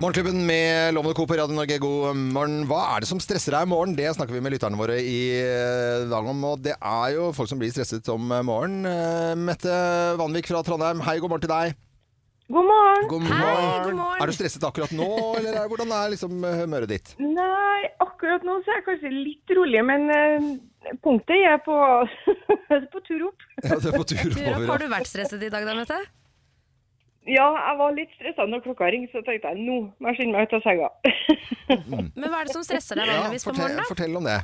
[SPEAKER 1] Morgenklubben med Lovende Co på Radio Norge, god morgen. Hva er det som stresser deg i morgen? Det snakker vi med lytterne våre i eh, dag om. Og det er jo folk som blir stresset om eh, morgenen. Eh, Mette Vanvik fra Trondheim, hei, god morgen til deg.
[SPEAKER 10] God morgen.
[SPEAKER 1] God
[SPEAKER 2] Hei, god morgen.
[SPEAKER 1] Er du stresset akkurat nå, eller er, hvordan er liksom eh, humøret ditt?
[SPEAKER 10] Nei, akkurat nå så er jeg kanskje litt rolig, men eh, punktet er på, på tur opp.
[SPEAKER 1] Ja, det er på tur
[SPEAKER 5] Tur opp,
[SPEAKER 1] over.
[SPEAKER 5] Har du vært stresset i dag, da, Mette?
[SPEAKER 10] Ja, jeg var litt stressa når klokka ringte, så tenkte jeg nå må jeg skynde meg ut av senga.
[SPEAKER 5] Men hva er det som stresser deg
[SPEAKER 1] Ja,
[SPEAKER 5] vanligvis på
[SPEAKER 1] fortell,
[SPEAKER 5] morgenen? da?
[SPEAKER 1] fortell om det.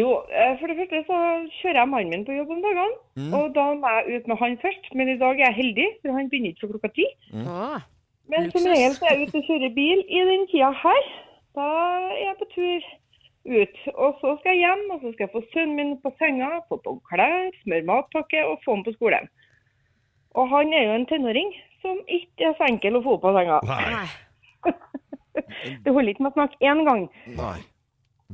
[SPEAKER 10] jo, eh, for det første så kjører jeg mannen min på jobb om dagene,
[SPEAKER 1] Mm.
[SPEAKER 10] og da må jeg ut med han først. Men i dag er jeg heldig, for han begynner ikke før klokka ti.
[SPEAKER 2] Åh.
[SPEAKER 10] Men som
[SPEAKER 2] Luksus.
[SPEAKER 10] regel så er jeg ute og kjører bil i den tida her. Da er jeg på tur ut. Og så skal jeg hjem, og så skal jeg få sønnen min på senga, få på klær, smøre matpakke og få han på skolen. Og han er jo en tenåring som ikke er så enkel å få på senga.
[SPEAKER 3] Nei.
[SPEAKER 2] Nei.
[SPEAKER 10] Det holder ikke med å snakke én gang.
[SPEAKER 1] Nei.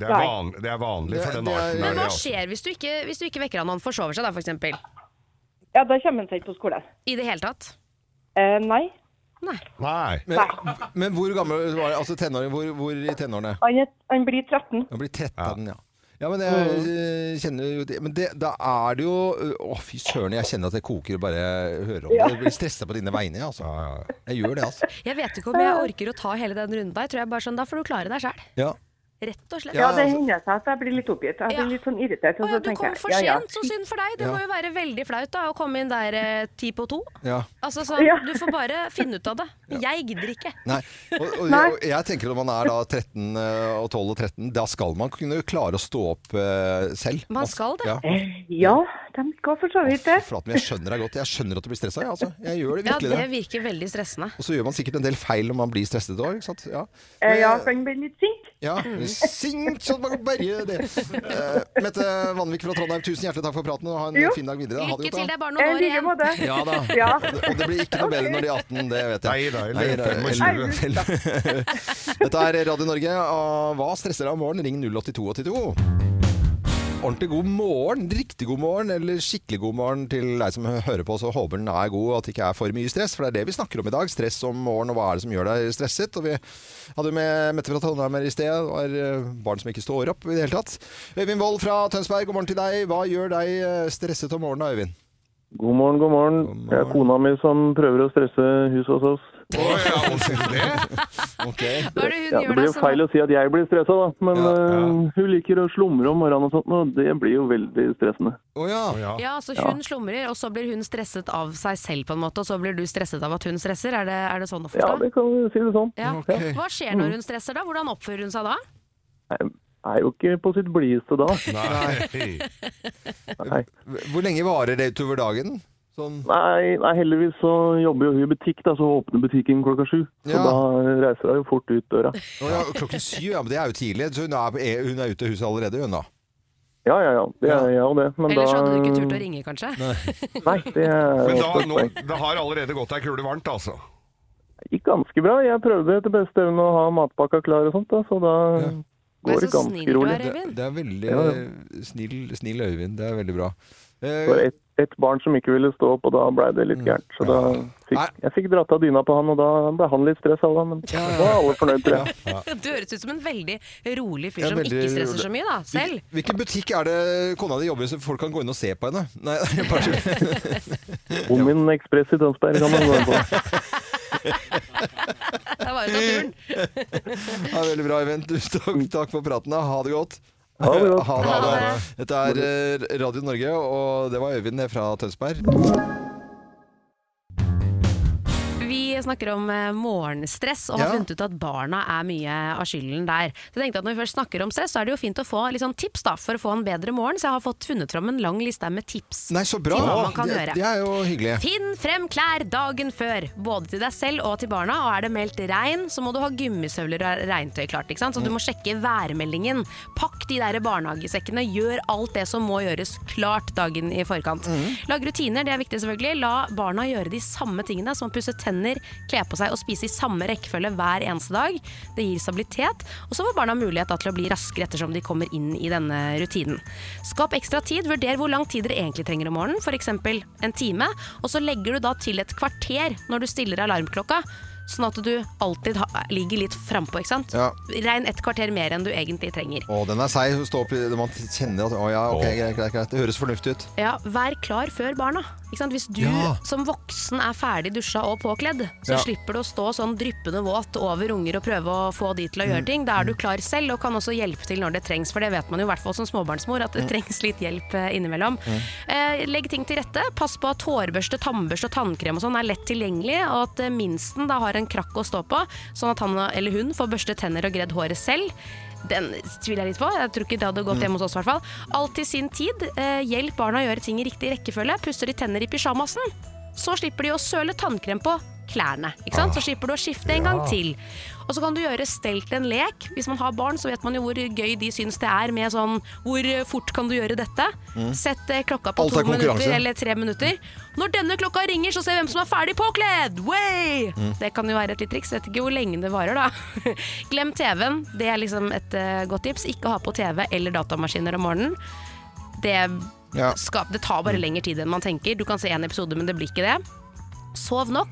[SPEAKER 3] Det er, van, det er vanlig for
[SPEAKER 1] Det-
[SPEAKER 3] den
[SPEAKER 1] det er-
[SPEAKER 3] arten.
[SPEAKER 1] Men
[SPEAKER 3] er
[SPEAKER 5] Hva
[SPEAKER 3] det, altså.
[SPEAKER 5] skjer hvis du ikke, hvis du ikke vekker han når han forsover seg, da, for eksempel?
[SPEAKER 10] Ja, da kommer han seg ikke på skolen.
[SPEAKER 5] I det hele tatt?
[SPEAKER 10] Eh, nei,
[SPEAKER 3] Nei.
[SPEAKER 1] Men, men hvor gammel var Altså tenåring, hvor, hvor i tenårene?
[SPEAKER 10] han, er, han blir 13.
[SPEAKER 1] Han blir 13, ja. Ja, men jeg
[SPEAKER 10] Mm.
[SPEAKER 1] eh, kjenner jo det. Men det, da er det jo eh, Å, fy søren, jeg kjenner at det koker og bare hører om det. Jeg blir stressa på dine vegne, jeg, altså.
[SPEAKER 3] Ja, ja, ja.
[SPEAKER 1] Jeg gjør det, altså.
[SPEAKER 5] Jeg vet ikke om
[SPEAKER 10] Eh.
[SPEAKER 5] jeg orker å ta hele den runden der. Tror jeg bare sånn, Da får du klare deg sjæl.
[SPEAKER 1] Ja.
[SPEAKER 5] Rett og slett.
[SPEAKER 10] Ja,
[SPEAKER 1] Ja,
[SPEAKER 10] det
[SPEAKER 1] altså-
[SPEAKER 10] hender seg at jeg blir litt oppgitt. Jeg
[SPEAKER 5] Ja.
[SPEAKER 10] blir litt sånn irritert.
[SPEAKER 5] Å
[SPEAKER 10] Og
[SPEAKER 5] ja,
[SPEAKER 10] så
[SPEAKER 5] du kom
[SPEAKER 10] tenker
[SPEAKER 5] for
[SPEAKER 10] jeg, ja,
[SPEAKER 5] sent, så synd for deg. Det
[SPEAKER 1] Ja.
[SPEAKER 5] må jo være veldig flaut da, å komme inn der eh, ti på to.
[SPEAKER 1] ja.
[SPEAKER 5] Altså, sånn,
[SPEAKER 10] Ja.
[SPEAKER 5] Du får bare finne ut av det. Jeg gidder ikke.
[SPEAKER 1] Nei. Og, og, jeg, og jeg tenker når man er da 13 eh, og 12 og 13, da skal man kunne klare å stå opp eh, selv.
[SPEAKER 5] Man skal det.
[SPEAKER 1] Ja.
[SPEAKER 10] ja. Eh, Ja, de skal for så vidt det.
[SPEAKER 1] Flaten, jeg skjønner deg godt. Jeg skjønner at du blir stressa, jeg, altså. Jeg gjør det
[SPEAKER 5] Ja,
[SPEAKER 1] virkelig.
[SPEAKER 5] Det
[SPEAKER 1] det.
[SPEAKER 5] virker veldig stressende.
[SPEAKER 1] Og så gjør man sikkert en del feil når man blir stresset òg, ikke sant. Ja.
[SPEAKER 10] Eh, ja, kan
[SPEAKER 1] Men-
[SPEAKER 10] bli litt sint.
[SPEAKER 1] Ja.
[SPEAKER 5] Mm.
[SPEAKER 1] Sint som bare berge det. Eh, Mette Vanvik fra Trondheim, tusen hjertelig takk for praten, og ha en
[SPEAKER 10] Jo.
[SPEAKER 1] fin dag videre. Ha det
[SPEAKER 5] Lykke
[SPEAKER 1] godt,
[SPEAKER 5] til, det
[SPEAKER 1] da.
[SPEAKER 5] er bare
[SPEAKER 10] I
[SPEAKER 5] noen år
[SPEAKER 10] like
[SPEAKER 5] igjen.
[SPEAKER 10] måte.
[SPEAKER 1] Ja da.
[SPEAKER 10] Ja.
[SPEAKER 1] Og det blir ikke noe bedre når de er 18, det vet jeg.
[SPEAKER 3] Nei da, eller
[SPEAKER 1] eller-
[SPEAKER 3] 25.
[SPEAKER 1] eller- Dette er Radio Norge, og hva stresser deg om morgenen? Ring 08282. Ordentlig god morgen, riktig god morgen, eller skikkelig god morgen til deg som hører på, så håper den er god, og at det ikke er for mye stress, for det er det vi snakker om i dag. Stress om morgenen, og hva er det som gjør deg stresset? Og vi hadde jo med Mette fra Trondheim her i sted, det var eh, barn som ikke står opp i det hele tatt. Øyvind Wold fra Tønsberg, god morgen til deg. Hva gjør deg eh, stresset om morgenen, Øyvind?
[SPEAKER 7] God morgen, god morgen. Det er kona mi som prøver å stresse huset hos oss.
[SPEAKER 3] Å ja, og sier du det?
[SPEAKER 1] Ok.
[SPEAKER 5] Hva er det hun
[SPEAKER 7] Ja, det
[SPEAKER 5] gjør da?
[SPEAKER 7] blir jo
[SPEAKER 5] som-
[SPEAKER 7] feil å si at jeg blir stressa, da. Men
[SPEAKER 1] Ja,
[SPEAKER 7] eh, hun liker å slumre om morgenen og sånt, og det blir jo veldig stressende.
[SPEAKER 1] Å ja.
[SPEAKER 3] Å ja.
[SPEAKER 2] Ja, så hun slumrer, og så blir hun stresset av seg selv, på en måte, og så blir du stresset av at hun stresser. Er det, er det sånn å
[SPEAKER 7] Ja,
[SPEAKER 2] forstå?
[SPEAKER 7] det kan du si det sånn.
[SPEAKER 2] Ja.
[SPEAKER 1] Ok.
[SPEAKER 2] Hva skjer når hun stresser, da? Hvordan oppfører hun seg da?
[SPEAKER 7] Er jo ikke på sitt blideste da.
[SPEAKER 3] Nei.
[SPEAKER 7] Nei.
[SPEAKER 1] Hvor lenge varer det utover dagen? Sånn
[SPEAKER 7] Nei, nei, heldigvis så jobber jo hun i butikk, da, så åpner butikken klokka sju. Så
[SPEAKER 1] Ja.
[SPEAKER 7] da reiser hun jo fort ut døra.
[SPEAKER 1] Å ja, klokken syv, ja, men det er jo tidlig. Så hun er, er- hun er ute av huset allerede, hun da.
[SPEAKER 7] Ja, ja, ja. Det er jeg og det. Men
[SPEAKER 2] Ellers
[SPEAKER 7] da
[SPEAKER 2] hadde du ikke turt å ringe, kanskje?
[SPEAKER 7] Nei, det er
[SPEAKER 3] Men da,
[SPEAKER 7] også et
[SPEAKER 3] nå,
[SPEAKER 7] poeng.
[SPEAKER 3] det har allerede gått ei kule varmt, altså.
[SPEAKER 7] Gikk ganske bra. Jeg prøvde etter beste evne å ha matpakka klar og sånt, da, så da går
[SPEAKER 5] Vær
[SPEAKER 7] det
[SPEAKER 5] så snill
[SPEAKER 7] ganske
[SPEAKER 5] du
[SPEAKER 7] rolig.
[SPEAKER 5] er,
[SPEAKER 1] Det,
[SPEAKER 5] Øyvind.
[SPEAKER 1] det er veldig
[SPEAKER 7] Ja, ja.
[SPEAKER 1] eh, Snill, snill Øyvind. Det er veldig bra. Eh,
[SPEAKER 7] Det var ett et barn som ikke ville stå opp, og da blei det litt gærent. Så da
[SPEAKER 1] Nei.
[SPEAKER 7] fikk, jeg fikk dratt av dyna på han, og da ble han litt stressa da, men da var alle fornøyd, tror jeg.
[SPEAKER 5] Du høres ut som en veldig rolig fyr
[SPEAKER 1] Ja,
[SPEAKER 5] som
[SPEAKER 1] veldig
[SPEAKER 5] ikke stresser
[SPEAKER 1] rolig.
[SPEAKER 5] så mye, da. Selv.
[SPEAKER 1] Hvil- Hvilken butikk er det kona di jobber i, så folk kan gå inn og se på henne? Nei, bare tull.
[SPEAKER 7] Omin Ekspress i Tønsberg kan man gå inn på.
[SPEAKER 5] Det var jo naturen.
[SPEAKER 1] Ja, veldig bra, Øyvind. Tusen takk, takk for praten. da. Ha det godt.
[SPEAKER 7] Ha det godt.
[SPEAKER 1] Ha det, ha det. Dette er eh, Radio Norge, og det var Øyvind fra Tønsberg.
[SPEAKER 2] vi snakker om eh, morgenstress og har
[SPEAKER 11] Ja.
[SPEAKER 2] funnet ut at barna er mye av skylden der. Så jeg tenkte at når vi først snakker om stress, så er det jo fint å få litt sånn tips da, for å få en bedre morgen. Så jeg har fått funnet fram en lang liste her med tips
[SPEAKER 1] Nei, så bra.
[SPEAKER 2] til hva man kan
[SPEAKER 1] Det-
[SPEAKER 2] gjøre.
[SPEAKER 1] det er jo hyggelig.
[SPEAKER 2] Finn frem klær dagen før, både til deg selv og til barna. Og er det meldt regn, så må du ha gummisøvler og regntøy klart. Ikke sant? Så du må sjekke værmeldingen. Pakk de der barnehagesekkene. Gjør alt det som må gjøres klart dagen i forkant. Lag rutiner, det er viktig selvfølgelig. La barna gjøre de samme tingene, som å pusse tenner, kle på seg og spise i samme rekkefølge hver eneste dag. Det gir stabilitet. Og så får barna mulighet da, til å bli raskere ettersom de kommer inn i denne rutinen. Skap ekstra tid. Vurder hvor lang tid dere egentlig trenger om morgenen, f.eks. en time. Og så legger du da til et kvarter når du stiller alarmklokka, sånn at du alltid ha, ligger litt frampå, ikke sant.
[SPEAKER 1] Ja.
[SPEAKER 2] Regn et kvarter mer enn du egentlig trenger.
[SPEAKER 1] Å, den er seig. å stå opp i- Man kjenner at Å ja, ok, greit, greit, greit. Det høres fornuftig ut.
[SPEAKER 2] Ja, vær klar før barna. Ikke sant? Hvis du
[SPEAKER 1] Ja.
[SPEAKER 2] som voksen er ferdig dusja og påkledd, så
[SPEAKER 1] Ja.
[SPEAKER 2] slipper du å stå sånn dryppende våt over unger og prøve å få de til å gjøre ting. Da er du klar selv og kan også hjelpe til når det trengs, for det vet man jo i hvert fall som småbarnsmor at det
[SPEAKER 11] Mm.
[SPEAKER 2] trengs litt hjelp eh, innimellom.
[SPEAKER 11] Mm.
[SPEAKER 2] Eh, legg ting til rette. Pass på at hårbørste, tannbørste og tannkrem og sånn er lett tilgjengelig, og at eh, minsten da har en krakk å stå på, sånn at han eller hun får børstet tenner og gredd håret selv. Den tviler jeg litt på. Jeg tror ikke det hadde gått hjemme hos oss. i hvert fall Alt til sin tid. Eh, hjelp barna å gjøre ting i riktig rekkefølge. Pusser de tenner i pysjamasen, så slipper de å søle tannkrem på klærne. Ikke sant? Så slipper du å skifte en gang
[SPEAKER 11] Ah. Ja.
[SPEAKER 2] til. Og så kan du gjøre stell til en lek. Hvis man har barn, så vet man jo hvor gøy de syns det er med sånn Hvor fort kan du gjøre dette?
[SPEAKER 11] Mm.
[SPEAKER 2] Sett eh, klokka på
[SPEAKER 11] Alt er
[SPEAKER 2] to minutter
[SPEAKER 11] konkurranse.
[SPEAKER 2] eller tre minutter. Når denne klokka ringer, så se hvem som er ferdig påkledd! Way!
[SPEAKER 11] Mm.
[SPEAKER 2] Det kan jo være et litt triks. Vet ikke hvor lenge det varer, da. Glem TV-en. Det er liksom et eh, godt tips. Ikke ha på TV eller datamaskiner om morgenen. Det,
[SPEAKER 11] Ja. Mm.
[SPEAKER 2] skap- det tar bare lengre tid enn man tenker. Du kan se én episode, men det blir ikke det. Sov nok.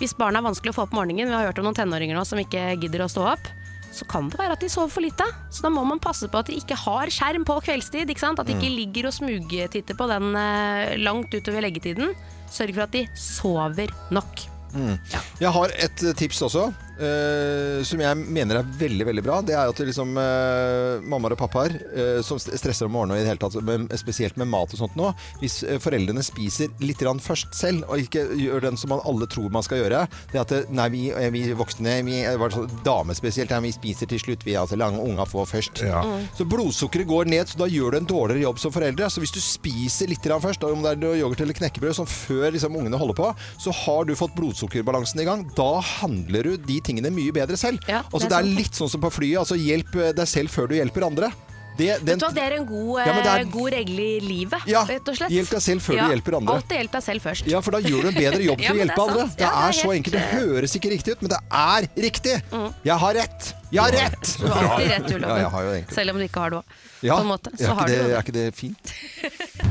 [SPEAKER 2] Hvis barna er vanskelig å få opp morgenen, vi har hørt om noen tenåringer nå som ikke gidder å stå opp, så kan det være at de sover for lite. Så da må man passe på at de ikke har skjerm på kveldstid. Ikke sant? At de ikke
[SPEAKER 11] Mm.
[SPEAKER 2] ligger og smugtitter på den eh, langt utover leggetiden. Sørg for at de sover nok.
[SPEAKER 1] Mm. Jeg har et eh, tips også, eh, som jeg mener er veldig veldig bra. Det er jo at det liksom, eh, mammaer og pappaer eh, som st- stresser om morgenen, og i det hele tatt, men spesielt med mat og sånt nå, hvis eh, foreldrene spiser litt grann først selv, og ikke gjør den som man alle tror man skal gjøre Det at eh, nei, vi, eh, vi voksne, vi, eh, var sånn, damer spesielt, ja, vi spiser til slutt, vi altså lange unga får først.
[SPEAKER 11] Mm.
[SPEAKER 1] Så blodsukkeret går ned, så da gjør du en dårligere jobb som foreldre. Så hvis du spiser litt grann først, om det er yoghurt eller knekkebrød, som før liksom ungene holder på, så har du fått blodsukkerbalansen i gang. Da handler du de tingene mye bedre selv. altså,
[SPEAKER 2] det
[SPEAKER 1] det
[SPEAKER 2] er
[SPEAKER 1] er
[SPEAKER 2] sant.
[SPEAKER 1] litt sånn som på flyet. Altså, hjelp deg selv før du hjelper andre. Det, den-
[SPEAKER 2] Vet du hva, det er en god,
[SPEAKER 1] Ja, men det er-
[SPEAKER 2] eh, god regel i livet,
[SPEAKER 1] Ja,
[SPEAKER 2] rett og slett.
[SPEAKER 1] hjelp deg selv før du hjelper andre.
[SPEAKER 2] Alltid hjelp deg selv først.
[SPEAKER 1] ja, for da gjør du en bedre jobb
[SPEAKER 2] Ja,
[SPEAKER 1] til å
[SPEAKER 2] men
[SPEAKER 1] hjelpe
[SPEAKER 2] det er
[SPEAKER 1] andre.
[SPEAKER 2] sant.
[SPEAKER 1] Det
[SPEAKER 2] Ja,
[SPEAKER 1] er så
[SPEAKER 2] helt,
[SPEAKER 1] enkelt. Det
[SPEAKER 2] eh, Mm.
[SPEAKER 1] høres ikke riktig ut, men det er riktig! Jeg har rett! Jeg har rett!
[SPEAKER 2] Du har alltid rett, Uloven.
[SPEAKER 1] Ja, jeg har jo egentlig
[SPEAKER 2] Selv om du ikke har det òg.
[SPEAKER 1] Ja,
[SPEAKER 2] på en måte.
[SPEAKER 1] er,
[SPEAKER 2] Så
[SPEAKER 1] ikke
[SPEAKER 2] har du
[SPEAKER 1] det,
[SPEAKER 2] jo
[SPEAKER 1] er ikke det fint?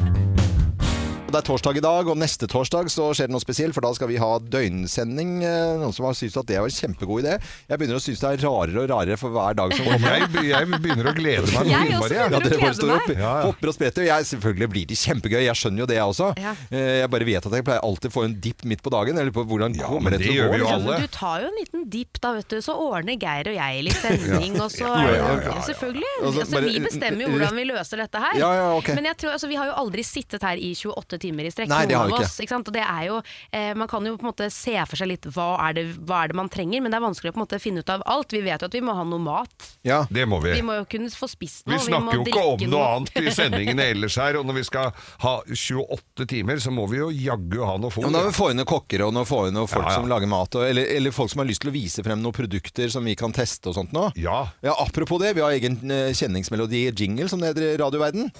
[SPEAKER 1] Det er torsdag i dag, og neste torsdag så skjer det noe spesielt, for da skal vi ha døgnsending. Eh, Noen som har syntes at det var en kjempegod idé. Jeg begynner å synes det er rarere og rarere for hver dag som
[SPEAKER 3] Og
[SPEAKER 1] kommer.
[SPEAKER 3] jeg be- jeg begynner å glede meg noe Jeg også innmari, jeg.
[SPEAKER 1] Ja,
[SPEAKER 3] begynner å
[SPEAKER 1] dere bare
[SPEAKER 3] glede
[SPEAKER 1] står opp,
[SPEAKER 3] meg. Ja, ja.
[SPEAKER 1] hopper og spretter. Jeg, selvfølgelig blir det kjempegøy, jeg skjønner jo det jeg også.
[SPEAKER 2] Ja.
[SPEAKER 1] Eh, Jeg bare vet at jeg pleier alltid å få en dipp midt på dagen. Jeg lurer på hvordan
[SPEAKER 3] men
[SPEAKER 1] kommer det
[SPEAKER 3] det
[SPEAKER 1] til å
[SPEAKER 3] gjør vi
[SPEAKER 1] gå?
[SPEAKER 3] jo
[SPEAKER 1] liksom?
[SPEAKER 2] Men du tar jo en liten dipp da, vet du. Så ordner Geir og jeg litt sending,
[SPEAKER 1] Ja.
[SPEAKER 2] og så
[SPEAKER 1] Ja, ja, ja, ja, ja.
[SPEAKER 2] Selvfølgelig.
[SPEAKER 1] Altså,
[SPEAKER 2] Altså, vi
[SPEAKER 1] bare-
[SPEAKER 2] bestemmer jo hvordan vi løser dette her.
[SPEAKER 1] Ja, ja, ok.
[SPEAKER 2] Men jeg tror, altså, vi har jo aldri sittet her i 28 timer i strekk,
[SPEAKER 1] Nei, det har
[SPEAKER 2] noen
[SPEAKER 1] vi
[SPEAKER 2] av
[SPEAKER 1] ikke.
[SPEAKER 2] oss. Ikke sant? Og det er jo, eh, man kan jo på en måte se for seg litt hva er, det, hva er det man trenger, men det er vanskelig å på en måte finne ut av alt. Vi vet jo at vi må ha noe mat.
[SPEAKER 1] Ja,
[SPEAKER 3] det må vi.
[SPEAKER 2] Vi må jo kunne få spist
[SPEAKER 3] Vi
[SPEAKER 2] noe. må
[SPEAKER 3] snakker jo ikke
[SPEAKER 2] drikke
[SPEAKER 3] om noe annet i sendingene ellers her, og når vi skal ha 28 timer, så må vi jo jaggu ha noe
[SPEAKER 1] Ja,
[SPEAKER 3] fôr.
[SPEAKER 1] men da må vi få inn noen kokker og noen få inn noen folk
[SPEAKER 3] Ja, ja.
[SPEAKER 1] som lager mat, og, eller, eller folk som har lyst til å vise frem noen produkter som vi kan teste og sånt nå.
[SPEAKER 3] Ja.
[SPEAKER 1] apropos det, vi har egen eh, kjenningsmelodi jingle som det heter i radioverden.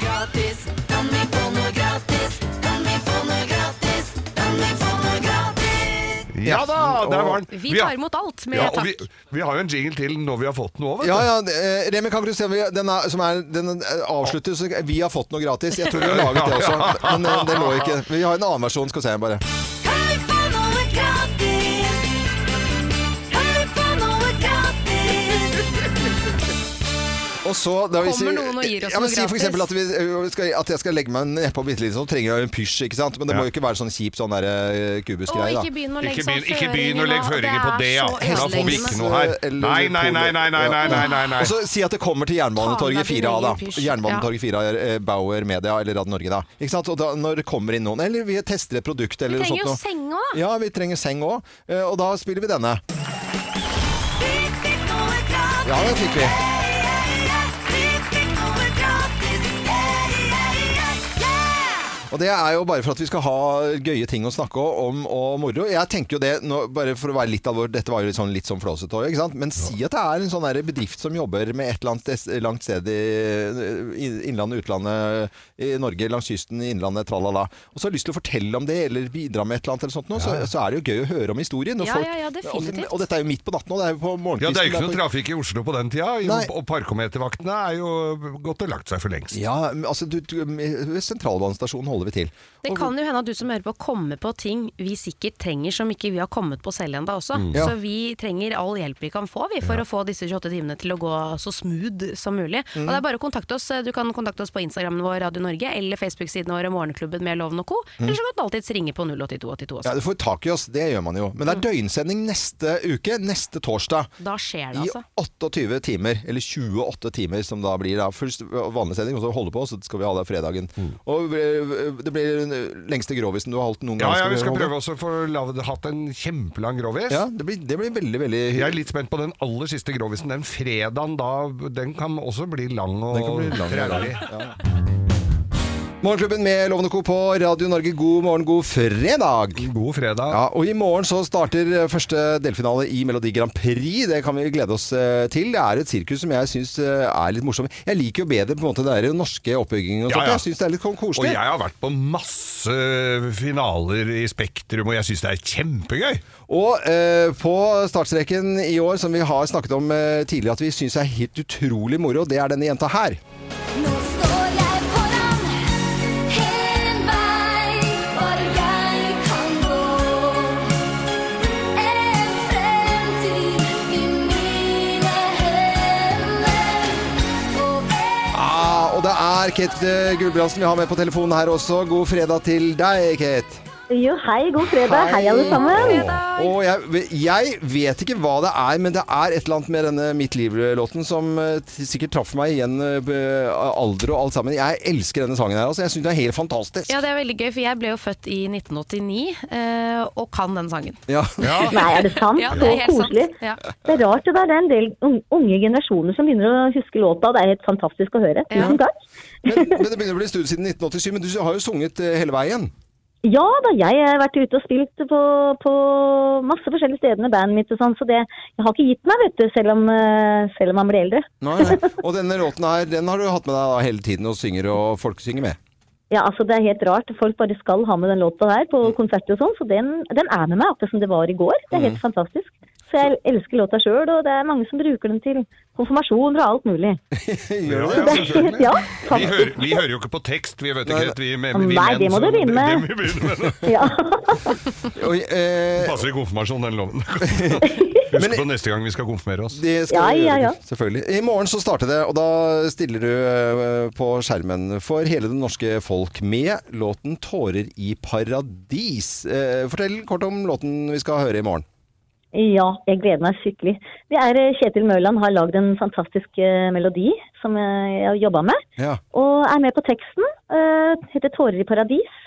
[SPEAKER 11] gratis? Kan vi få noe gratis? Kan vi få noe gratis? Kan vi få noe gratis?
[SPEAKER 3] Ja da, der var den.
[SPEAKER 2] Vi tar imot alt med
[SPEAKER 3] ja, og
[SPEAKER 2] takk.
[SPEAKER 3] Vi, vi har jo en jingle til når vi har fått noe, vet
[SPEAKER 1] Ja, ja, eh, Remi, kan ikke du se om vi, den, er, som er, den eh, avsluttes Vi har fått noe gratis. Jeg tror vi har laget det også, men eh, det lå ikke. Vi har en annen versjon, skal vi se bare.
[SPEAKER 11] Kan vi få noe gratis? Kan vi få noe gratis?
[SPEAKER 1] Og så da vi
[SPEAKER 5] Kommer
[SPEAKER 1] sier-
[SPEAKER 5] noen og gir oss
[SPEAKER 1] ja,
[SPEAKER 5] noe
[SPEAKER 1] men si for
[SPEAKER 5] gratis?
[SPEAKER 1] eksempel at, vi, ø, skal, at jeg skal legge meg nedpå bitte litt, så trenger jeg jo en pysj, ikke sant? Men det må jo ikke være sånn kjip sånn der kubusgreie,
[SPEAKER 2] Og
[SPEAKER 1] da.
[SPEAKER 2] ikke begynn å legge
[SPEAKER 3] Ikke
[SPEAKER 2] sånn
[SPEAKER 3] begynn- ikke begynn å
[SPEAKER 2] føringer
[SPEAKER 3] legge
[SPEAKER 2] nå,
[SPEAKER 3] føringer på
[SPEAKER 2] er
[SPEAKER 3] det, ja.
[SPEAKER 2] så
[SPEAKER 3] Da får vi ikke noe her.
[SPEAKER 1] Eller Altså,
[SPEAKER 3] Nei, nei,
[SPEAKER 1] polo.
[SPEAKER 3] nei, nei, nei, nei, nei, nei, nei.
[SPEAKER 1] Og så si at det kommer til Jernbanetorget
[SPEAKER 3] Ta med din
[SPEAKER 1] 4A, da.
[SPEAKER 3] egen pysj.
[SPEAKER 1] Jernbanetorget 4A, eh, Bauer Media eller Radio Norge, da. Ikke sant? Og da, når det kommer inn noen, eller vi tester et produkt eller
[SPEAKER 2] Vi
[SPEAKER 1] noe
[SPEAKER 2] trenger jo
[SPEAKER 1] sånt noe.
[SPEAKER 2] seng òg.
[SPEAKER 1] Ja, vi trenger seng òg. Og da spiller vi denne. Ja, den fikk vi. Og det er jo bare for at vi skal ha gøye ting å snakke om og moro. Jeg tenker jo det, nå, bare for å være litt alvorlig, dette var jo litt sånn, litt sånn flåsete også, ikke sant? Men si at det er en sånn der bedrift som jobber med et eller annet sted, langt sted i i- innlandet, utlandet, i Norge, langs kysten, i innlandet, tralala. Og så har lyst til å fortelle om det, eller bidra med et eller annet, eller sånt, nå, så, så er det jo gøy å høre om historien. og
[SPEAKER 2] Ja,
[SPEAKER 1] folk-
[SPEAKER 2] ja, ja, definitivt.
[SPEAKER 1] Og, og dette er jo midt på natten nå, det er jo på
[SPEAKER 3] Ja,
[SPEAKER 1] morgenkvisten.
[SPEAKER 3] Det er jo ikke
[SPEAKER 1] på-
[SPEAKER 3] noe trafikk i Oslo på den tida, jo,
[SPEAKER 1] Nei.
[SPEAKER 3] og parkometervaktene er jo gått og lagt seg for lengst.
[SPEAKER 1] Ja, men altså, du, du, ved sentralbanestasjonen holder vi til.
[SPEAKER 2] Det kan jo hende at du som hører på kommer på ting vi sikkert trenger som ikke vi har kommet på selv ennå også.
[SPEAKER 1] Mm. Ja.
[SPEAKER 2] Så vi trenger all hjelp vi kan få vi, for å få disse 28 timene til å gå så smooth som mulig.
[SPEAKER 5] Mm.
[SPEAKER 2] Og det er bare å kontakte oss. Du kan kontakte oss på Instagrammen vår Radio Norge eller Facebook-siden vår Morgenklubben med Loven og co.
[SPEAKER 1] Mm.
[SPEAKER 2] Eller så kan du alltids ringe på
[SPEAKER 1] Ja,
[SPEAKER 2] 08282 også.
[SPEAKER 1] Du får tak i oss, det gjør man jo. Men det
[SPEAKER 2] Mm.
[SPEAKER 1] er døgnsending neste uke, neste torsdag.
[SPEAKER 2] Da skjer
[SPEAKER 1] I
[SPEAKER 2] det, altså.
[SPEAKER 1] 28 timer, eller 28 timer som da blir da først vanlig sending, og så holde på, så skal vi ha det fredagen.
[SPEAKER 3] Mm.
[SPEAKER 1] Og eh, det blir den lengste grovisen du har holdt noen
[SPEAKER 3] Ja,
[SPEAKER 1] gang.
[SPEAKER 3] ja, vi skal
[SPEAKER 1] holde.
[SPEAKER 3] prøve også å få lavet- hatt en kjempelang grovis.
[SPEAKER 1] Ja, det blir, det blir veldig, veldig
[SPEAKER 3] Jeg er litt spent på den aller siste grovisen. Den fredagen da, den kan også bli lang og
[SPEAKER 1] Den kan bli lang og lang,
[SPEAKER 3] traurig.
[SPEAKER 1] Morgenklubben med Lovende Co. på Radio Norge, god morgen, god fredag!
[SPEAKER 3] God fredag.
[SPEAKER 1] Ja, og i morgen så starter eh, første delfinale i Melodi Grand Prix. Det kan vi glede oss eh, til. Det er et sirkus som jeg syns er litt morsomt. Jeg liker jo bedre på en måte det der norske oppbyggingen og
[SPEAKER 3] Ja,
[SPEAKER 1] sånt.
[SPEAKER 3] ja.
[SPEAKER 1] Jeg syns det er litt kon-
[SPEAKER 3] Og
[SPEAKER 1] koselig.
[SPEAKER 3] jeg har vært på masse finaler i Spektrum, og jeg syns det er kjempegøy.
[SPEAKER 1] Og eh, på startstreken i år, som vi har snakket om eh, tidligere, at vi syns er helt utrolig moro, det er denne jenta her.
[SPEAKER 11] En vei bare jeg kan gå. En fremtid i mine hender.
[SPEAKER 1] Ah, og det er Kate eh, Gulbrandsen vi har med på telefonen her også. God fredag til deg, Kate.
[SPEAKER 12] Jo, hei, god fredag. Hei, alle sammen.
[SPEAKER 1] Og jeg, jeg vet ikke hva det er, men det er et eller annet med denne Mitt liv-låten som eh, sikkert traff meg igjen eh, b- alder og alt sammen. Jeg elsker denne sangen her, altså. Jeg syns den er helt fantastisk.
[SPEAKER 2] Ja, det er veldig gøy, for jeg ble jo født i 1989 eh, og kan den sangen.
[SPEAKER 1] Ja.
[SPEAKER 12] Nei, er det sant?
[SPEAKER 2] Ja, det er
[SPEAKER 12] Så
[SPEAKER 2] helt sant.
[SPEAKER 12] koselig.
[SPEAKER 2] Ja.
[SPEAKER 12] Det er rart det der. Det er en del un- unge generasjoner som begynner å huske låta. Det er helt fantastisk å høre. Tusen takk.
[SPEAKER 1] Men, men det begynner å bli en stund siden 1987, men du har jo sunget eh, hele veien.
[SPEAKER 12] Ja da, jeg har vært ute og spilt på, på masse forskjellige steder med bandet mitt og sånn, så det, jeg har ikke gitt meg, vet du, selv om, eh, selv om man blir eldre.
[SPEAKER 1] Nei, nei. Og denne låten her, den har du hatt med deg da hele tiden og synger og folk synger med.
[SPEAKER 12] Ja, altså det er helt rart. Folk bare skal ha med den låta der på konserter og sånn, så den, den er med meg akkurat som det var i går. Det er helt fantastisk. Så jeg elsker låta sjøl, og det er mange som bruker den til konfirmasjoner og alt mulig.
[SPEAKER 3] Gjør
[SPEAKER 12] det? Ja,
[SPEAKER 3] vi, hører, vi hører jo ikke på tekst, vi vet ikke. Vi, vi, vi
[SPEAKER 12] Nei, det må
[SPEAKER 3] menn, så-
[SPEAKER 12] du rime.
[SPEAKER 3] Det, det må vi begynne med.
[SPEAKER 12] Ja.
[SPEAKER 1] eh,
[SPEAKER 3] Passer i konfirmasjon, den loven. Husk på neste gang vi skal konfirmere oss.
[SPEAKER 1] Det skal vi gjøre, Selvfølgelig. I morgen så starter det, og da stiller du eh, på skjermen for hele det norske folk med låten 'Tårer i paradis'. Eh, Fortell kort om låten vi skal høre i morgen.
[SPEAKER 12] Ja, jeg gleder meg skikkelig. Det er eh, Kjetil Mørland har lagd en fantastisk eh, melodi som eh, jeg har jobba med.
[SPEAKER 1] Ja.
[SPEAKER 12] Og er med på teksten. eh, heter 'Tårer i paradis'.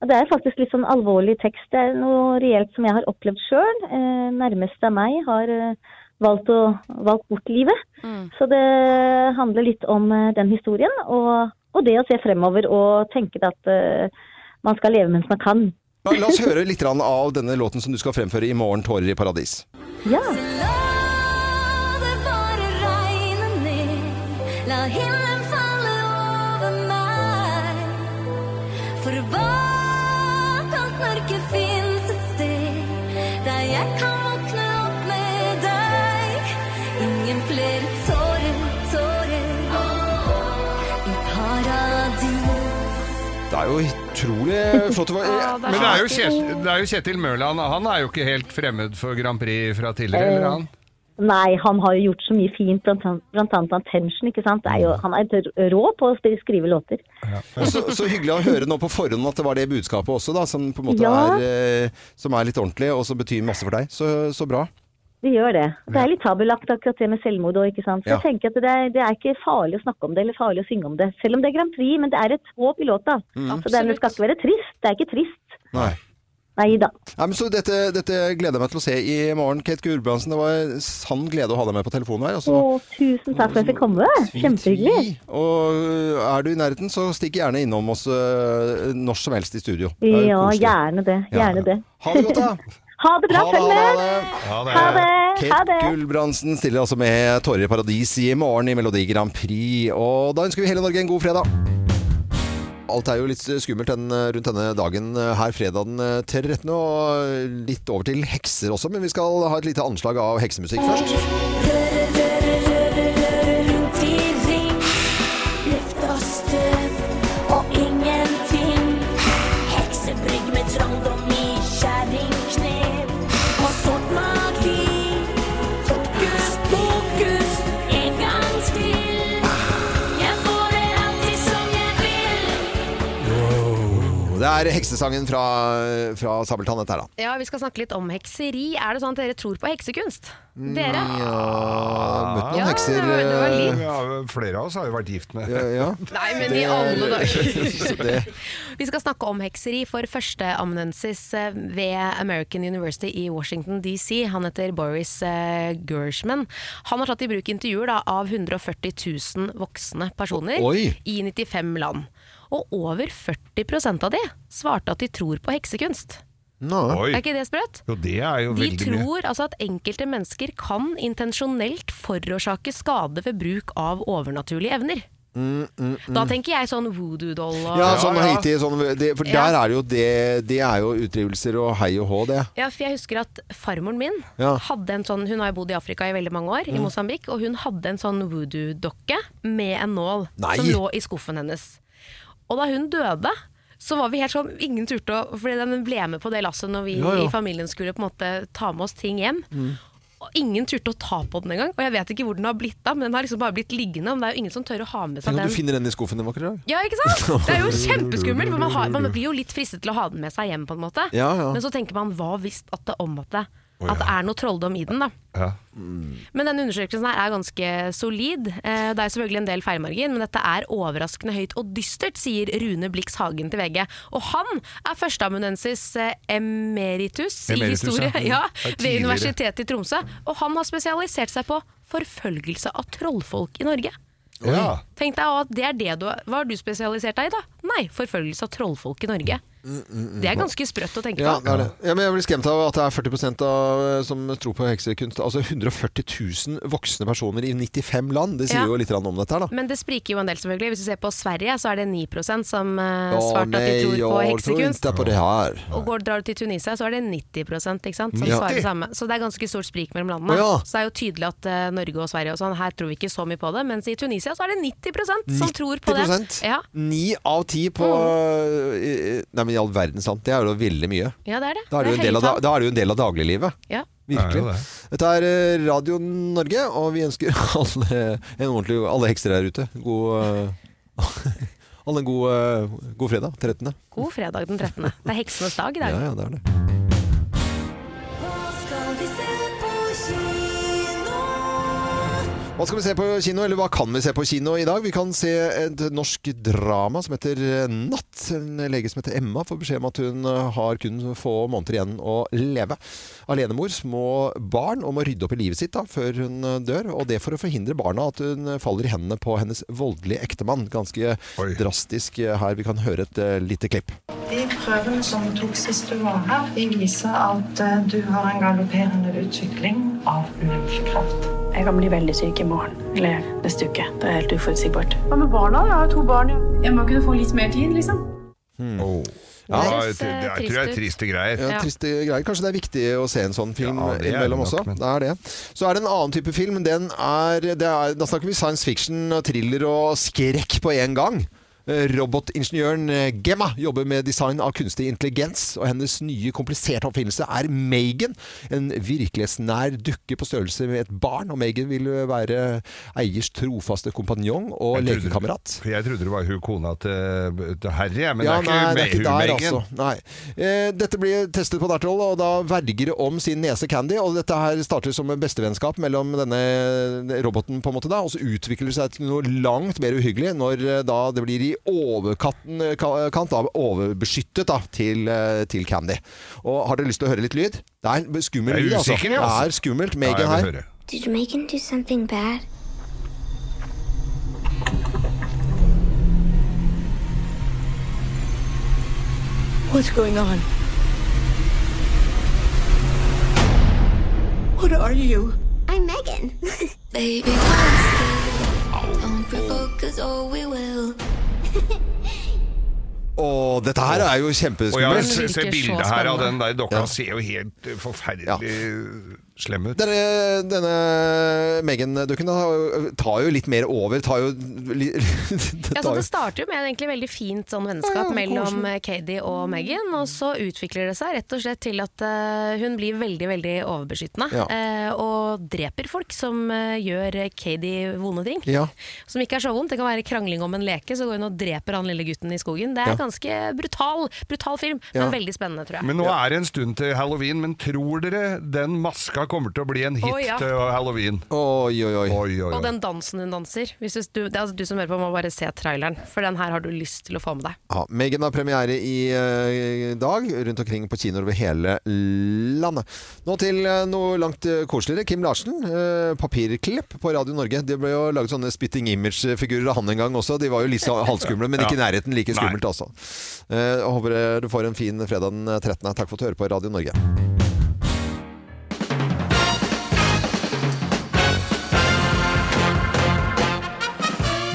[SPEAKER 12] Og Det er faktisk litt sånn alvorlig tekst. Det er noe reelt som jeg har opplevd sjøl. nærmeste av meg har eh, valgt, å, valgt bort livet. Så det handler litt om eh, den historien. Og, og det å se fremover og tenke at eh, man skal leve mens man kan.
[SPEAKER 1] La, la oss høre litt grann av denne låten som du skal fremføre i morgen, 'Tårer i paradis'.
[SPEAKER 12] Ja.
[SPEAKER 11] La himmelen falle over meg. For bak alt mørke fins et sted der jeg kan våkne opp med deg. Ingen flere tårer, tårer i paradis.
[SPEAKER 1] Det er jo utrolig flott. å være-
[SPEAKER 3] Men det er, jo Kjetil, det er jo Kjetil Mørland, han er jo ikke helt fremmed for Grand Prix fra tidligere, eller han?
[SPEAKER 8] Nei, han har jo gjort så mye fint, blant an- blant annet Attention. ikke sant? Det er jo, han er d- rå på å sp- skrive låter.
[SPEAKER 1] Og Så, så hyggelig å høre nå på forhånd at det var det budskapet også, da, som på en måte
[SPEAKER 8] Ja.
[SPEAKER 1] er, eh, som er litt ordentlig, og som betyr masse for deg. Så, så bra.
[SPEAKER 8] Det gjør det. Det er litt tabulagt akkurat det med selvmord òg, ikke sant. Så
[SPEAKER 1] Ja.
[SPEAKER 8] jeg tenker at det er, det er ikke farlig å snakke om det, eller farlig å synge om det. Selv om det er Grand Prix, men det er et håp i låta.
[SPEAKER 1] Mm.
[SPEAKER 8] Så dermed skal det ikke være trist. Det er ikke trist.
[SPEAKER 1] Nei.
[SPEAKER 8] Nei da.
[SPEAKER 1] Nei, men så dette, dette gleder jeg meg til å se i morgen. Kate Gulbrandsen, det var sann glede å ha deg med på telefonen her. altså. Og,
[SPEAKER 8] Å,
[SPEAKER 1] så,
[SPEAKER 8] tusen takk for at jeg fikk komme. Kjempehyggelig.
[SPEAKER 1] og øh, er du i nærheten, så stikk gjerne innom oss øh, når som helst i studio. Det er jo
[SPEAKER 8] Ja,
[SPEAKER 1] koselig.
[SPEAKER 8] gjerne det. Gjerne det.
[SPEAKER 1] Ha det godt, da.
[SPEAKER 8] Ha det bra.
[SPEAKER 1] Ha det,
[SPEAKER 8] Følg
[SPEAKER 1] ha
[SPEAKER 8] med. Ha det. Ha
[SPEAKER 1] Kate
[SPEAKER 8] det.
[SPEAKER 1] Gulbrandsen stiller altså med 'Tårer i paradis' i morgen i Melodi Grand Prix. Og da ønsker vi hele Norge en god fredag. Alt er jo litt skummelt den, rundt denne dagen eh, her fredag den 13. Og litt over til hekser også, men vi skal ha et lite anslag av heksemusikk først.
[SPEAKER 11] Rundt i ring, luft og støv og ingenting. Heksebrygg med trangdom i kjerringknev og sort magi. Hokus pokus en gang til. Jeg får det alltid som jeg vil.
[SPEAKER 1] Det er heksesangen fra, fra Sabeltann, dette her, da.
[SPEAKER 2] Ja, Vi skal snakke litt om hekseri. Er det sånn at dere tror på heksekunst? Dere?
[SPEAKER 1] Ja, møtt Ah, noen
[SPEAKER 2] Ja,
[SPEAKER 1] hekser.
[SPEAKER 2] det var litt.
[SPEAKER 1] eh,
[SPEAKER 3] Ja, flere av oss har jo vært gift med
[SPEAKER 1] Ja, ja.
[SPEAKER 2] Nei, men i
[SPEAKER 1] Det-
[SPEAKER 2] alle dager.
[SPEAKER 1] det-
[SPEAKER 2] Vi skal snakke om hekseri for førsteamanuensis eh, ved American University i Washington DC. Han heter Boris eh, Gershman. Han har tatt i bruk intervjuer da, av 140 000 voksne personer
[SPEAKER 11] Oi.
[SPEAKER 2] i 95 land. Og over 40 av de svarte at de tror på heksekunst.
[SPEAKER 3] Oi.
[SPEAKER 2] Er ikke det sprøtt?
[SPEAKER 3] Jo, det er jo
[SPEAKER 2] De
[SPEAKER 3] veldig mye.
[SPEAKER 2] tror altså at enkelte mennesker kan intensjonelt forårsake skade ved bruk av overnaturlige evner.
[SPEAKER 1] Mm, mm, mm.
[SPEAKER 2] Da tenker jeg sånn voodoo-doll og
[SPEAKER 1] Ja, sånn Haiti, sånn, det, for
[SPEAKER 2] Ja.
[SPEAKER 1] der er det jo det Det er jo utdrivelser og hei og hå, det.
[SPEAKER 2] Ja, for jeg husker at farmoren min
[SPEAKER 1] Ja.
[SPEAKER 2] hadde en sånn Hun har jo bodd i Afrika i veldig mange år, i
[SPEAKER 1] Mm.
[SPEAKER 2] Mosambik, og hun hadde en sånn voodoo-dokke med en nål
[SPEAKER 11] Nei.
[SPEAKER 2] som lå i skuffen hennes. Og da hun døde, så var vi helt sånn Ingen turte å Fordi den ble med på det lasset når vi
[SPEAKER 11] Ja, ja.
[SPEAKER 2] i familien skulle på en måte ta med oss ting hjem.
[SPEAKER 1] Mm.
[SPEAKER 2] Og ingen turte å ta på den engang. Og jeg vet ikke hvor den har blitt av, men den har liksom bare blitt liggende. Men det er jo ingen som tør å ha med seg
[SPEAKER 1] Tenk om
[SPEAKER 2] den.
[SPEAKER 1] du finner den i skuffen din akkurat i dag.
[SPEAKER 2] Ja, ikke sant? Det er jo kjempeskummelt, for man, har, man blir jo litt fristet til å ha den med seg hjem, på en måte.
[SPEAKER 1] Ja, ja.
[SPEAKER 2] Men så tenker man hva hvis at det om at det, at det er noe trolldom i den, da.
[SPEAKER 3] Ja.
[SPEAKER 2] Men denne undersøkelsen her er ganske solid. Eh, Det er selvfølgelig en del feilmargin, men dette er overraskende høyt og dystert, sier Rune Blix Hagen til VG. Og han er førsteamanuensis eh, emeritus, i
[SPEAKER 11] Emeritus,
[SPEAKER 2] historie ja,
[SPEAKER 11] ja. Det er
[SPEAKER 2] ved
[SPEAKER 11] tidligere.
[SPEAKER 2] Universitetet i Tromsø. Og han har spesialisert seg på forfølgelse av trollfolk i Norge.
[SPEAKER 3] Ja.
[SPEAKER 2] Tenk deg at det er det du Hva har du spesialisert deg i, da? Nei, forfølgelse av trollfolk i Norge. Det er ganske sprøtt å tenke
[SPEAKER 1] Ja, det
[SPEAKER 2] på.
[SPEAKER 1] er det. Ja, men jeg blir skremt av at det er 40 av, eh, som tror på heksekunst. Altså 140 000 voksne personer i 95 land. Det sier
[SPEAKER 2] Ja.
[SPEAKER 1] jo litt grann om dette her, da.
[SPEAKER 2] Men det spriker jo en del, selvfølgelig. Hvis du ser på Sverige, så er det 9 som
[SPEAKER 1] Å,
[SPEAKER 2] uh, svarte at de
[SPEAKER 1] nei,
[SPEAKER 2] tror
[SPEAKER 1] jeg
[SPEAKER 2] på
[SPEAKER 1] tror
[SPEAKER 2] heksekunst.
[SPEAKER 1] ikke på det her.
[SPEAKER 2] Og går, drar du til Tunisia, så er det 90 ikke sant? Som
[SPEAKER 1] 90?
[SPEAKER 2] svarer det samme. Så det er ganske stort sprik mellom landene.
[SPEAKER 1] Å, ja.
[SPEAKER 2] Så det er jo tydelig at eh, Norge og Sverige og sånn, her tror vi ikke så mye på det. Mens i Tunisia så er det 90 som tror på det.
[SPEAKER 1] 90%?
[SPEAKER 2] Ja. Mm.
[SPEAKER 1] Ni av ti på eh, Nei, men i all verden sant. Det er jo veldig mye.
[SPEAKER 2] ja, det er det.
[SPEAKER 1] Da er det jo en
[SPEAKER 2] høye
[SPEAKER 1] del av, da,
[SPEAKER 2] tall.
[SPEAKER 1] da er det jo en del av dagliglivet.
[SPEAKER 2] Ja.
[SPEAKER 1] Virkelig.
[SPEAKER 3] Det er jo det.
[SPEAKER 1] Dette er eh, Radio Norge, og vi ønsker alle, en ordentlig, alle hekser her ute god, eh, alle en god, eh, god fredag 13.
[SPEAKER 2] God fredag den 13. Det er heksenes dag i
[SPEAKER 1] Ja,
[SPEAKER 2] dag.
[SPEAKER 1] ja, det er det.
[SPEAKER 11] Hva skal vi se på kino?
[SPEAKER 1] Hva skal vi se på kino, eller hva kan vi se på kino i dag? Vi kan se et norsk drama som heter Natt. En lege som heter Emma får beskjed om at hun har kun få måneder igjen å leve. Alenemor, små barn, og må rydde opp i livet sitt da, før hun dør. Og det for å forhindre barna at hun faller i hendene på hennes voldelige ektemann. Ganske drastisk her. Vi kan høre et eh, lite klipp.
[SPEAKER 13] De prøvene som du tok sist du var her, de viser at eh, du har en galopperende utvikling av lymfekreft.
[SPEAKER 14] Jeg kan bli veldig syk i morgen. Eller neste uke. Det er helt uforutsigbart.
[SPEAKER 13] Hva med barna? Jeg har to barn. Jeg må kunne få litt mer tid, liksom.
[SPEAKER 3] Oh.
[SPEAKER 1] Ja.
[SPEAKER 3] Ja, jeg tror- jeg tror det er triste greier.
[SPEAKER 1] Ja, triste greier. Kanskje det er viktig å se en sånn film
[SPEAKER 3] Ja, det er
[SPEAKER 1] innimellom
[SPEAKER 3] det nok,
[SPEAKER 1] også.
[SPEAKER 3] men-
[SPEAKER 1] Det er det. Så er det en annen type film. Den er, det er, da snakker vi science fiction, og thriller og skrekk på én gang. Eh, Eh, Robotingeniøren eh, Gemma jobber med design av kunstig intelligens, og hennes nye kompliserte oppfinnelse er Megan. En virkelighetsnær dukke på størrelse med et barn, og Megan vil være eiers trofaste kompanjong og
[SPEAKER 3] Jeg trodde-
[SPEAKER 1] lekekamerat.
[SPEAKER 3] For jeg trodde det var hun kona til, til Harry, jeg, men
[SPEAKER 1] Ja,
[SPEAKER 3] det er
[SPEAKER 1] nei,
[SPEAKER 3] ikke,
[SPEAKER 1] det er ikke
[SPEAKER 3] Megan.
[SPEAKER 1] der, altså. Nei. Eh, dette blir testet på Dertol, og da verger det om sin nese Candy. Og dette her starter som en bestevennskap mellom denne roboten, på en måte da, og så utvikler det seg til noe langt mer uhyggelig når eh, da det blir i overkant av overbeskyttet da, til, eh, til Candy. Og har dere lyst til å høre litt lyd? Det er en skummel
[SPEAKER 3] Jeg er
[SPEAKER 1] lyd, altså.
[SPEAKER 3] usikker, jeg,
[SPEAKER 1] Det
[SPEAKER 3] altså.
[SPEAKER 1] er skummelt.
[SPEAKER 3] Ja, jeg
[SPEAKER 1] Megan
[SPEAKER 3] vil
[SPEAKER 1] her.
[SPEAKER 3] høre.
[SPEAKER 15] Did Megan do something bad?
[SPEAKER 16] What's going on? What are you?
[SPEAKER 15] I'm Megan. Baby, don't provoke us or
[SPEAKER 16] oh,
[SPEAKER 15] we will.
[SPEAKER 1] Og dette her er jo
[SPEAKER 3] Og ja,
[SPEAKER 1] kjempeskummelt.
[SPEAKER 3] se, se bildet her av den der dokka ser jo helt eh, forferdelig slem ut.
[SPEAKER 1] Denne, denne Megan-dukken da tar jo litt mer over. Tar jo, li, det
[SPEAKER 5] Ja, så
[SPEAKER 1] tar
[SPEAKER 5] det
[SPEAKER 1] jo.
[SPEAKER 5] starter jo med et egentlig veldig fint sånn vennskap mellom eh, Katie og Megan, og så utvikler det seg rett og slett til at eh, hun blir veldig veldig overbeskyttende
[SPEAKER 1] Ja.
[SPEAKER 5] eh, og dreper folk som eh, gjør Katie vonde ting.
[SPEAKER 1] Ja.
[SPEAKER 5] Som ikke er så vondt. Det kan være krangling om en leke, så går hun og dreper han lille gutten i skogen. Det er
[SPEAKER 3] Ja.
[SPEAKER 5] ganske brutal, brutal film,
[SPEAKER 3] Ja.
[SPEAKER 5] men veldig spennende, tror jeg.
[SPEAKER 3] Men nå er det en stund til halloween, men tror dere den maska kommer til å bli en hit
[SPEAKER 5] Å, ja.
[SPEAKER 3] til halloween?
[SPEAKER 1] Oi, oi, oi.
[SPEAKER 5] Og den dansen hun danser. Hvis du, det er altså du som hører på, må bare se traileren, for den her har du lyst til å få med deg.
[SPEAKER 1] Ja, Megan har premiere i eh, dag rundt omkring på kinoer over hele landet. Nå til eh, noe langt eh, koseligere. Kim Larsen, eh, papirklipp på Radio Norge. Det ble jo laget sånne spitting image-figurer av han en gang også. De var jo litt så halvskumle, men ikke i
[SPEAKER 3] Ja.
[SPEAKER 1] nærheten like
[SPEAKER 3] Nei.
[SPEAKER 1] skummelt, altså. Eh, jeg håper eh, du får en fin fredag den 13. Takk for at du hører på Radio Norge.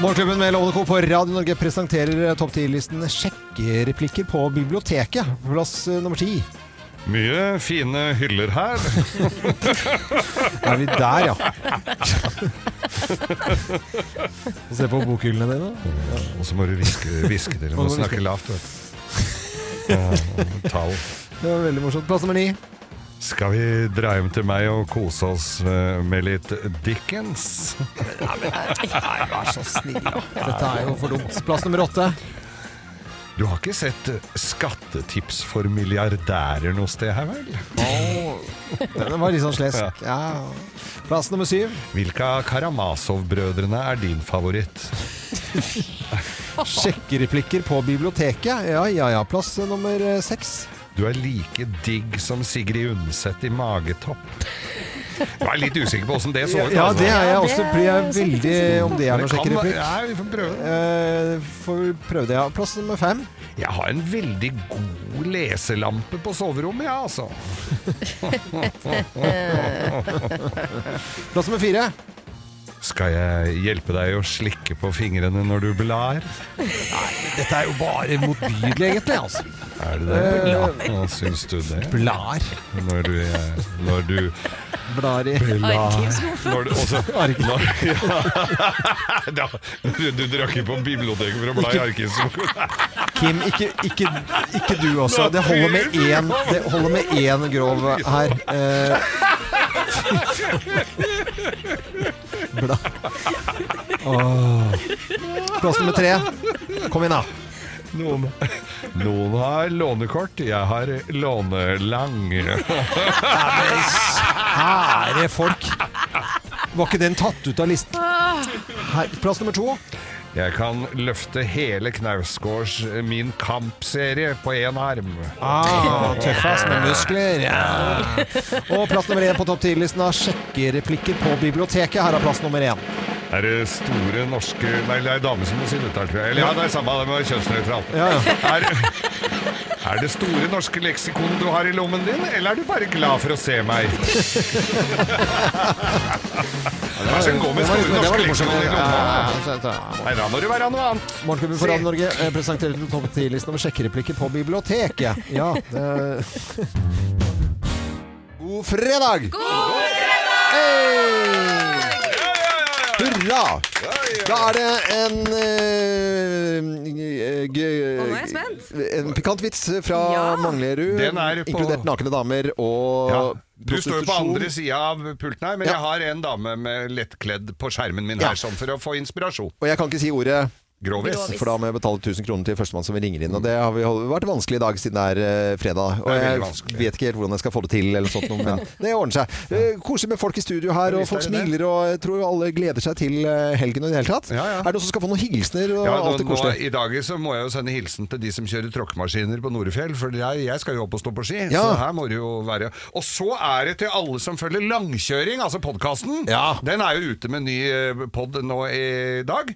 [SPEAKER 1] Morgenklubben med Lovende Co. på Radio Norge presenterer eh, topp 10-listen sjekkereplikker på biblioteket. Plass eh, nummer ti.
[SPEAKER 3] Mye fine hyller her.
[SPEAKER 1] Er vi der, ja. Og se på bokhyllene dine.
[SPEAKER 3] Og så må du hviske, hviske til dem
[SPEAKER 1] Må
[SPEAKER 3] og
[SPEAKER 1] du
[SPEAKER 3] snakke
[SPEAKER 1] hviske.
[SPEAKER 3] lavt, vet du. Ja, Tall.
[SPEAKER 1] Det var veldig morsomt. Plass nummer ni.
[SPEAKER 3] Skal vi dra hjem til meg og kose oss eh, med litt Dickens?
[SPEAKER 1] Nei, vær så snill. Dette er jo for dumt. Plass nummer åtte.
[SPEAKER 3] Du har ikke sett eh, skattetips for milliardærer noe sted her, vel?
[SPEAKER 1] Den var litt sånn slesk. Ja. Plass nummer syv.
[SPEAKER 3] Hvilke av Karamazov-brødrene er din favoritt?
[SPEAKER 1] Sjekkereplikker på biblioteket. Ja, ja, ja. Plass eh, nummer eh, seks.
[SPEAKER 3] Du er like digg som Sigrid Undset i magetopp. Jeg er litt usikker på åssen det så ut.
[SPEAKER 1] Ja,
[SPEAKER 3] altså.
[SPEAKER 1] det er jeg også. Blir jeg veldig om det er noe
[SPEAKER 3] kan-
[SPEAKER 1] sjekkereplikk.
[SPEAKER 3] Ja, vi får prøve.
[SPEAKER 1] Eh, får vi prøve det, ja. Plass nummer fem.
[SPEAKER 3] Jeg har en veldig god leselampe på soverommet, ja, altså.
[SPEAKER 1] Plass nummer fire.
[SPEAKER 3] Skal jeg hjelpe deg å slikke på fingrene når du blar?
[SPEAKER 1] Dette er jo bare motbydelig, egentlig. altså. Eh,
[SPEAKER 3] Er det det? Ja. Hva syns du det?
[SPEAKER 1] Blar.
[SPEAKER 3] Når du, eh, når du
[SPEAKER 1] Blar i
[SPEAKER 3] Arkivskuffen.
[SPEAKER 1] Arkivskuffen.
[SPEAKER 3] Når du, også, når, ja, da, du, du drar ikke på biblioteket for å bla i arkivskuffen.
[SPEAKER 1] Kim, ikke, ikke, ikke du også. Det holder med én, det holder med én grov her. Eh, bla. Åh. Plass nummer tre. Kom igjen, da.
[SPEAKER 3] Noen, noen har lånekort, jeg har lånelang.
[SPEAKER 1] Kjære folk. Var ikke den tatt ut av listen? Her, plass nummer to.
[SPEAKER 3] Jeg kan løfte hele Knausgårds Min Kamp-serie på én arm.
[SPEAKER 1] Ah, tøffass med muskler. Ja. Og plass nummer én på topp 10-listen av sjekkereplikker på biblioteket. Her er plass nummer én.
[SPEAKER 3] Er det store norske Nei, det er damer som må si dette, her, tror jeg. Eller ja, det er samme, det må være kjønnsnøytralt.
[SPEAKER 1] Ja,
[SPEAKER 3] Er, er det store norske leksikon du har i lommen din, eller er du bare glad for å se meg? Hva er det som går med
[SPEAKER 1] Det var litt-
[SPEAKER 3] store
[SPEAKER 1] det var
[SPEAKER 3] norske
[SPEAKER 1] litt
[SPEAKER 3] leksikon i
[SPEAKER 1] morsomt. Ja, ja, ja,
[SPEAKER 3] lommen?
[SPEAKER 1] så- så-
[SPEAKER 3] Nei, da må du være noe annet.
[SPEAKER 1] Morgenklubben for Radio Norge eh, presenterer den topp 10-listen over sjekkereplikker på biblioteket. Ja, det... God fredag! God fredag! Hey! Hurra! Da er det en eh, g-
[SPEAKER 17] Å, nå er jeg spent.
[SPEAKER 1] En pikant vits fra Manglerud,
[SPEAKER 3] Den er på-
[SPEAKER 1] inkludert nakne damer og
[SPEAKER 3] Ja. Du står jo på
[SPEAKER 1] prostitusjon.
[SPEAKER 3] andre sida av pulten her, men
[SPEAKER 1] Ja.
[SPEAKER 3] jeg har en dame med lettkledd på skjermen min
[SPEAKER 1] Ja.
[SPEAKER 3] her, sånn for å få inspirasjon.
[SPEAKER 1] Og jeg kan ikke si ordet
[SPEAKER 3] Grovis.
[SPEAKER 1] For da må jeg betale 1000 kroner til førstemann som ringer inn. Og det har vi hold- vært vanskelig i dag siden det er eh, fredag. Og
[SPEAKER 3] Det er veldig
[SPEAKER 1] jeg
[SPEAKER 3] vanskelig.
[SPEAKER 1] vet ikke helt hvordan jeg skal få det til, eller sånt, noe, men det ordner seg. Eh, Koselig med folk i studio her, og
[SPEAKER 3] Visst er
[SPEAKER 1] folk
[SPEAKER 3] det
[SPEAKER 1] smiler, og jeg tror alle gleder seg til eh, helgen og i det hele tatt. Er det noen som skal få noen hilsener og
[SPEAKER 3] Ja,
[SPEAKER 1] alt
[SPEAKER 3] nå,
[SPEAKER 1] det
[SPEAKER 3] nå,
[SPEAKER 1] koselige?
[SPEAKER 3] I dag så må jeg jo sende hilsen til de som kjører tråkkemaskiner på Norefjell, for jeg, jeg skal jo opp og stå på ski. Så
[SPEAKER 1] Ja.
[SPEAKER 3] her må det jo være Og så er det til alle som følger langkjøring, altså podkasten. Den er jo ute med ny eh, pod nå i dag.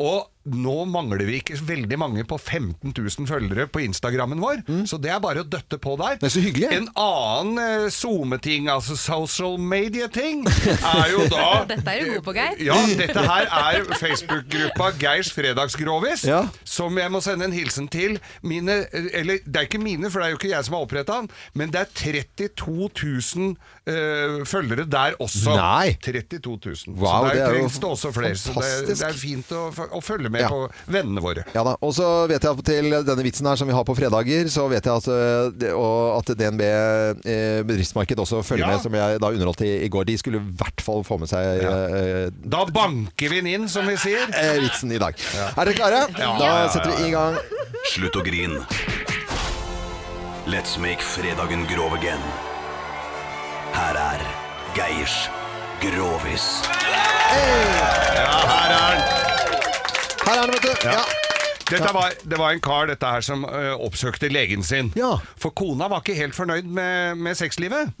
[SPEAKER 3] Og nå mangler vi ikke veldig mange på 15 000 følgere på Instagrammen vår, så det er bare å døtte på der. Mm. Det er så hyggelig En annen eh, SoMe-ting, altså social media-ting, er jo da
[SPEAKER 17] Dette er du god på, Geir.
[SPEAKER 3] ja, dette her er Facebook-gruppa Geirs fredagsgrovis, som jeg må sende en hilsen til mine Eller det er ikke mine, for det er jo ikke jeg som har oppretta den, men det er 32 000 eh, følgere der også.
[SPEAKER 1] Nei.
[SPEAKER 3] 32 000.
[SPEAKER 1] Wow, det
[SPEAKER 3] så der
[SPEAKER 1] er jo
[SPEAKER 3] trengs det også flere. Så
[SPEAKER 1] fantastisk.
[SPEAKER 3] det, det er fint å, f- å følge med
[SPEAKER 1] Ja.
[SPEAKER 3] på vennene våre.
[SPEAKER 1] Ja da. Og så vet jeg at til denne vitsen her som vi har på fredager, så vet jeg at, eh, det- og at DNB eh, Bedriftsmarked også følger
[SPEAKER 3] Ja.
[SPEAKER 1] med, som jeg da underholdt i, i går. De skulle i hvert fall få med seg eh,
[SPEAKER 3] Da banker vi den inn, som vi sier.
[SPEAKER 1] eh, vitsen i dag. Er dere klare?
[SPEAKER 3] Ja.
[SPEAKER 1] Da
[SPEAKER 3] Ja.
[SPEAKER 1] setter vi i gang.
[SPEAKER 18] Slutt å grin. Let's make fredagen grov again. Her er Geirs Grovis.
[SPEAKER 3] Ja, her er den.
[SPEAKER 1] Her er den, vet du. Ja.
[SPEAKER 3] Dette var, det var en kar dette her som ø, oppsøkte legen sin. For kona var ikke helt fornøyd med, med sexlivet.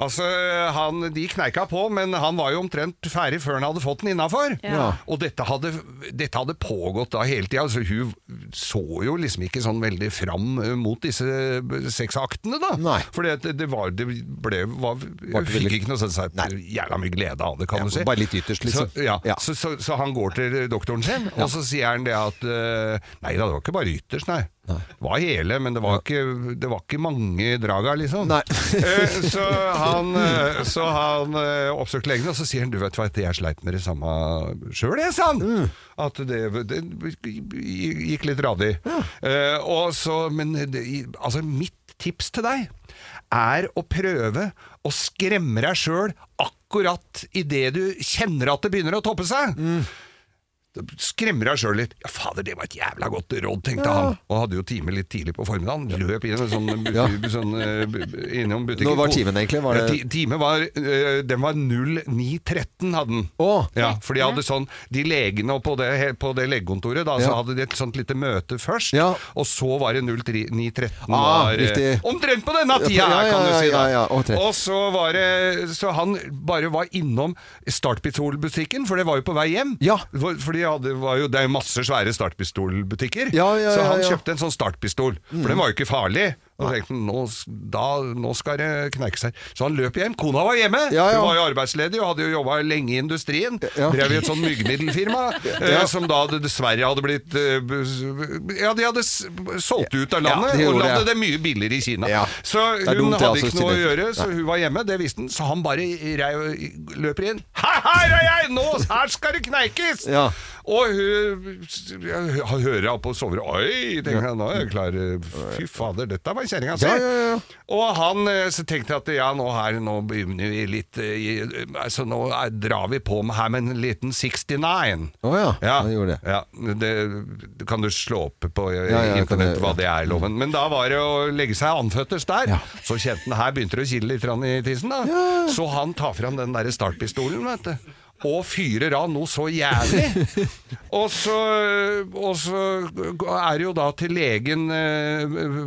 [SPEAKER 3] Altså, han, De kneika på, men han var jo omtrent ferdig før han hadde fått den innafor.
[SPEAKER 1] Ja.
[SPEAKER 3] Og dette hadde, dette hadde pågått da hele tida. Altså, hun så jo liksom ikke sånn veldig fram ø, mot disse eh, sexaktene, da. Nei. For det, det var Det ble var,
[SPEAKER 1] Var
[SPEAKER 3] Hun
[SPEAKER 1] ikke
[SPEAKER 3] fikk
[SPEAKER 1] veldig-
[SPEAKER 3] ikke noe sånn sånn jævla mye glede av det, kan
[SPEAKER 1] Ja,
[SPEAKER 3] du si.
[SPEAKER 1] bare litt ytterst, liksom.
[SPEAKER 3] Så, ja. Så, så, så han går til doktoren sin,
[SPEAKER 1] Ja.
[SPEAKER 3] og så sier han det at eh, Nei da, det var ikke bare ytterst, nei. Det var hele, men det var ikke, det var ikke mange draga, liksom. Eh, så han, eh, så han eh, oppsøkte legen, og så sier han du vet hva, at jeg sleit med det samme sjøl, jeg, sa han. At det, det gikk litt radig. Eh, og så, men det, altså, mitt tips til deg er å prøve å skremme deg sjøl akkurat idet du kjenner at det begynner å toppe seg. Skremmer deg sjøl litt. Ja, fader, det var et jævla godt råd, tenkte
[SPEAKER 1] Ja.
[SPEAKER 3] han. Og hadde jo time litt tidlig på formiddagen. Løp inn en sånn, bu- sånn eh, bu- bu- innom butikken.
[SPEAKER 1] Når var timen egentlig? Var det-
[SPEAKER 3] Ja, ti- timen var, eh, den var 09.13 hadde den. ja, for de hadde sånn De legene og på det, he- på det legekontoret, da, så
[SPEAKER 1] Ja.
[SPEAKER 3] hadde de et sånt lite møte først, og så var det 09.13.
[SPEAKER 1] Ah,
[SPEAKER 3] var, eh,
[SPEAKER 1] riktig.
[SPEAKER 3] Omtrent på
[SPEAKER 1] Ja,
[SPEAKER 3] denne tida
[SPEAKER 1] ja,
[SPEAKER 3] her, kan
[SPEAKER 1] ja,
[SPEAKER 3] du si.
[SPEAKER 1] ja,
[SPEAKER 3] da.
[SPEAKER 1] ja, og tre.
[SPEAKER 3] Og så var det Så han bare var innom startpistolbutikken, for det var jo på vei hjem. For, for de hadde, var jo, det er jo masse svære startpistolbutikker.
[SPEAKER 1] ja,
[SPEAKER 3] så
[SPEAKER 1] ja,
[SPEAKER 3] han
[SPEAKER 1] ja.
[SPEAKER 3] kjøpte en sånn startpistol, for
[SPEAKER 1] Mm.
[SPEAKER 3] den var jo ikke farlig. Og tenkte, han, nå, s- da, nå skal det kneikes her. Så han løp hjem. Kona var hjemme!
[SPEAKER 1] Ja, ja.
[SPEAKER 3] Hun var jo arbeidsledig og hadde jo jobba lenge i industrien.
[SPEAKER 1] Ja.
[SPEAKER 3] Drev i et sånn myggmiddelfirma, eh,
[SPEAKER 1] Ja.
[SPEAKER 3] som da hadde- dessverre hadde blitt eh, b- s- Ja, de hadde s- solgt ut av
[SPEAKER 1] Ja,
[SPEAKER 3] landet,
[SPEAKER 1] de
[SPEAKER 3] og
[SPEAKER 1] gjorde
[SPEAKER 3] lagde
[SPEAKER 1] det.
[SPEAKER 3] det mye billigere i Kina. Så
[SPEAKER 1] Det er
[SPEAKER 3] hun
[SPEAKER 1] dumt, det,
[SPEAKER 3] hadde
[SPEAKER 1] altså,
[SPEAKER 3] ikke noe å
[SPEAKER 1] Stine.
[SPEAKER 3] gjøre, så
[SPEAKER 1] Nei.
[SPEAKER 3] hun var hjemme, det visste han. Så han bare rei- løper inn. Her, her er jeg! Nå, her skal det kneikes!
[SPEAKER 1] Ja.
[SPEAKER 3] Og hun jeg hø- hører opp og sover. Oi, tenker jeg, nå er jeg klar. Fy fader, dette var kjerringa si.
[SPEAKER 1] Ja,
[SPEAKER 3] Og han eh, så tenkte jeg at ja, nå her, nå begynner vi litt eh, i, altså, Nå eh, drar vi på med her med en liten 69.
[SPEAKER 1] Å ja.
[SPEAKER 3] Ja,
[SPEAKER 1] Han gjorde det.
[SPEAKER 3] ja, det kan du slå opp på eh,
[SPEAKER 1] Ja, ja, jeg kan
[SPEAKER 3] internett
[SPEAKER 1] det,
[SPEAKER 3] hva
[SPEAKER 1] ja.
[SPEAKER 3] det er, loven. Men da var det å legge seg anføttes der. Så kjente han her begynte det å kile litt grann i tissen. da Så han tar fram den der startpistolen, vet du. Og fyrer av noe så jævlig. og, så, og så er det jo da til legen eh,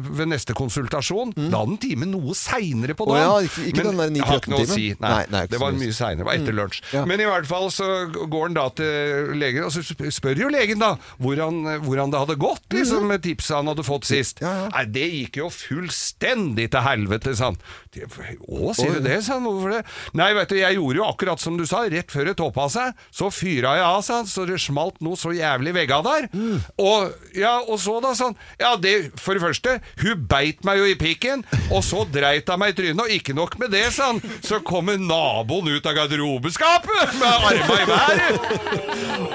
[SPEAKER 3] ved neste konsultasjon. Da hadde den time noe seinere på
[SPEAKER 1] Mm. Å
[SPEAKER 3] dagen.
[SPEAKER 1] ja, ikke- ikke den der
[SPEAKER 3] jeg har ikke noe å si.
[SPEAKER 1] 9-13-timen.
[SPEAKER 3] Nei,
[SPEAKER 1] Nei, nei, ikke så
[SPEAKER 3] det var
[SPEAKER 1] mye.
[SPEAKER 3] mye seinere. Det var etter lunsj.
[SPEAKER 1] Ja.
[SPEAKER 3] Men i hvert fall så går han da til legen, og så sp- spør jo legen da hvordan, hvordan det hadde gått, liksom, med tipset han hadde fått sist. Nei, det gikk jo fullstendig til helvete, sa han. Det- Å, sier du det, sa han. Hvorfor det? Nei, vet du, jeg gjorde jo akkurat som du sa, rett før et tåpa av seg. Så fyra jeg av, sa han, så det smalt noe så jævlig i vegga der. Og, ja, og så da, sånn Ja, det, for det første, hun beit meg jo i pikken, og så dreit hun meg i trynet, og ikke nok med det, sa han, så kommer naboen ut av garderobeskapet med arma i været!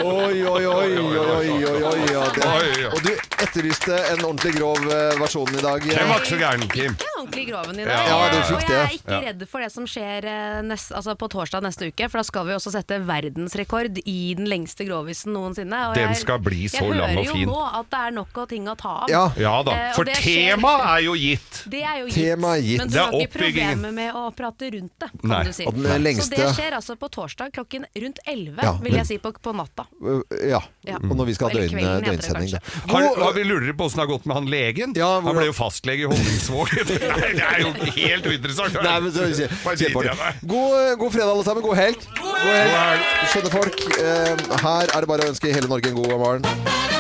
[SPEAKER 1] Oi, oi, oi, oi, oi, oi, oi. ja, det- Og du etterlyste en ordentlig grov eh, versjon i dag.
[SPEAKER 3] Den var ikke så gæren, Kim.
[SPEAKER 2] Jeg er ordentlig i groven
[SPEAKER 1] Ja,
[SPEAKER 2] i dag.
[SPEAKER 1] ja, du fikk
[SPEAKER 2] Og jeg er
[SPEAKER 1] det.
[SPEAKER 2] ikke
[SPEAKER 1] Ja.
[SPEAKER 2] redd for det som skjer eh, nest, altså på torsdag neste uke, for da skal vi også sette verdensrekord i den lengste grovisen noensinne. Og
[SPEAKER 3] Den
[SPEAKER 2] jeg-
[SPEAKER 3] skal bli så lang og
[SPEAKER 2] Jeg hører
[SPEAKER 3] fin.
[SPEAKER 2] jo nå at det er nok av ting å ta av.
[SPEAKER 3] Ja. Ja da,
[SPEAKER 2] Eh, og
[SPEAKER 3] for
[SPEAKER 2] det skjer-
[SPEAKER 3] temaet er jo gitt.
[SPEAKER 2] Det er jo gitt.
[SPEAKER 1] Temaet er gitt.
[SPEAKER 2] Men du
[SPEAKER 1] Det er
[SPEAKER 2] har ikke
[SPEAKER 1] oppbyggingen.
[SPEAKER 2] problemet med å prate rundt det, kan
[SPEAKER 1] Nei,
[SPEAKER 2] du si.
[SPEAKER 1] og den
[SPEAKER 2] Så det
[SPEAKER 1] lengste-
[SPEAKER 2] skjer altså på torsdag klokken rundt 11,
[SPEAKER 1] Ja,
[SPEAKER 2] vil
[SPEAKER 1] men-
[SPEAKER 2] jeg si, på, på natta.
[SPEAKER 1] Eh, Ja.
[SPEAKER 2] Ja.
[SPEAKER 1] Og når vi skal ha
[SPEAKER 2] Eller kvelden
[SPEAKER 1] døgn,
[SPEAKER 2] heter det
[SPEAKER 1] døgnsending, da.
[SPEAKER 3] Har, har vi lurer på åssen det har gått med han legen? han ble jo fastlege i Honningsvåg. det er jo helt uinteressant!
[SPEAKER 1] Nei, men så, se,
[SPEAKER 3] Bare
[SPEAKER 1] se på det.
[SPEAKER 3] driter jeg meg.
[SPEAKER 1] God, god fredag, alle sammen. God eh, helg. God helg. Skjønne folk. eh, Her er det bare å ønske hele Norge en god morgen.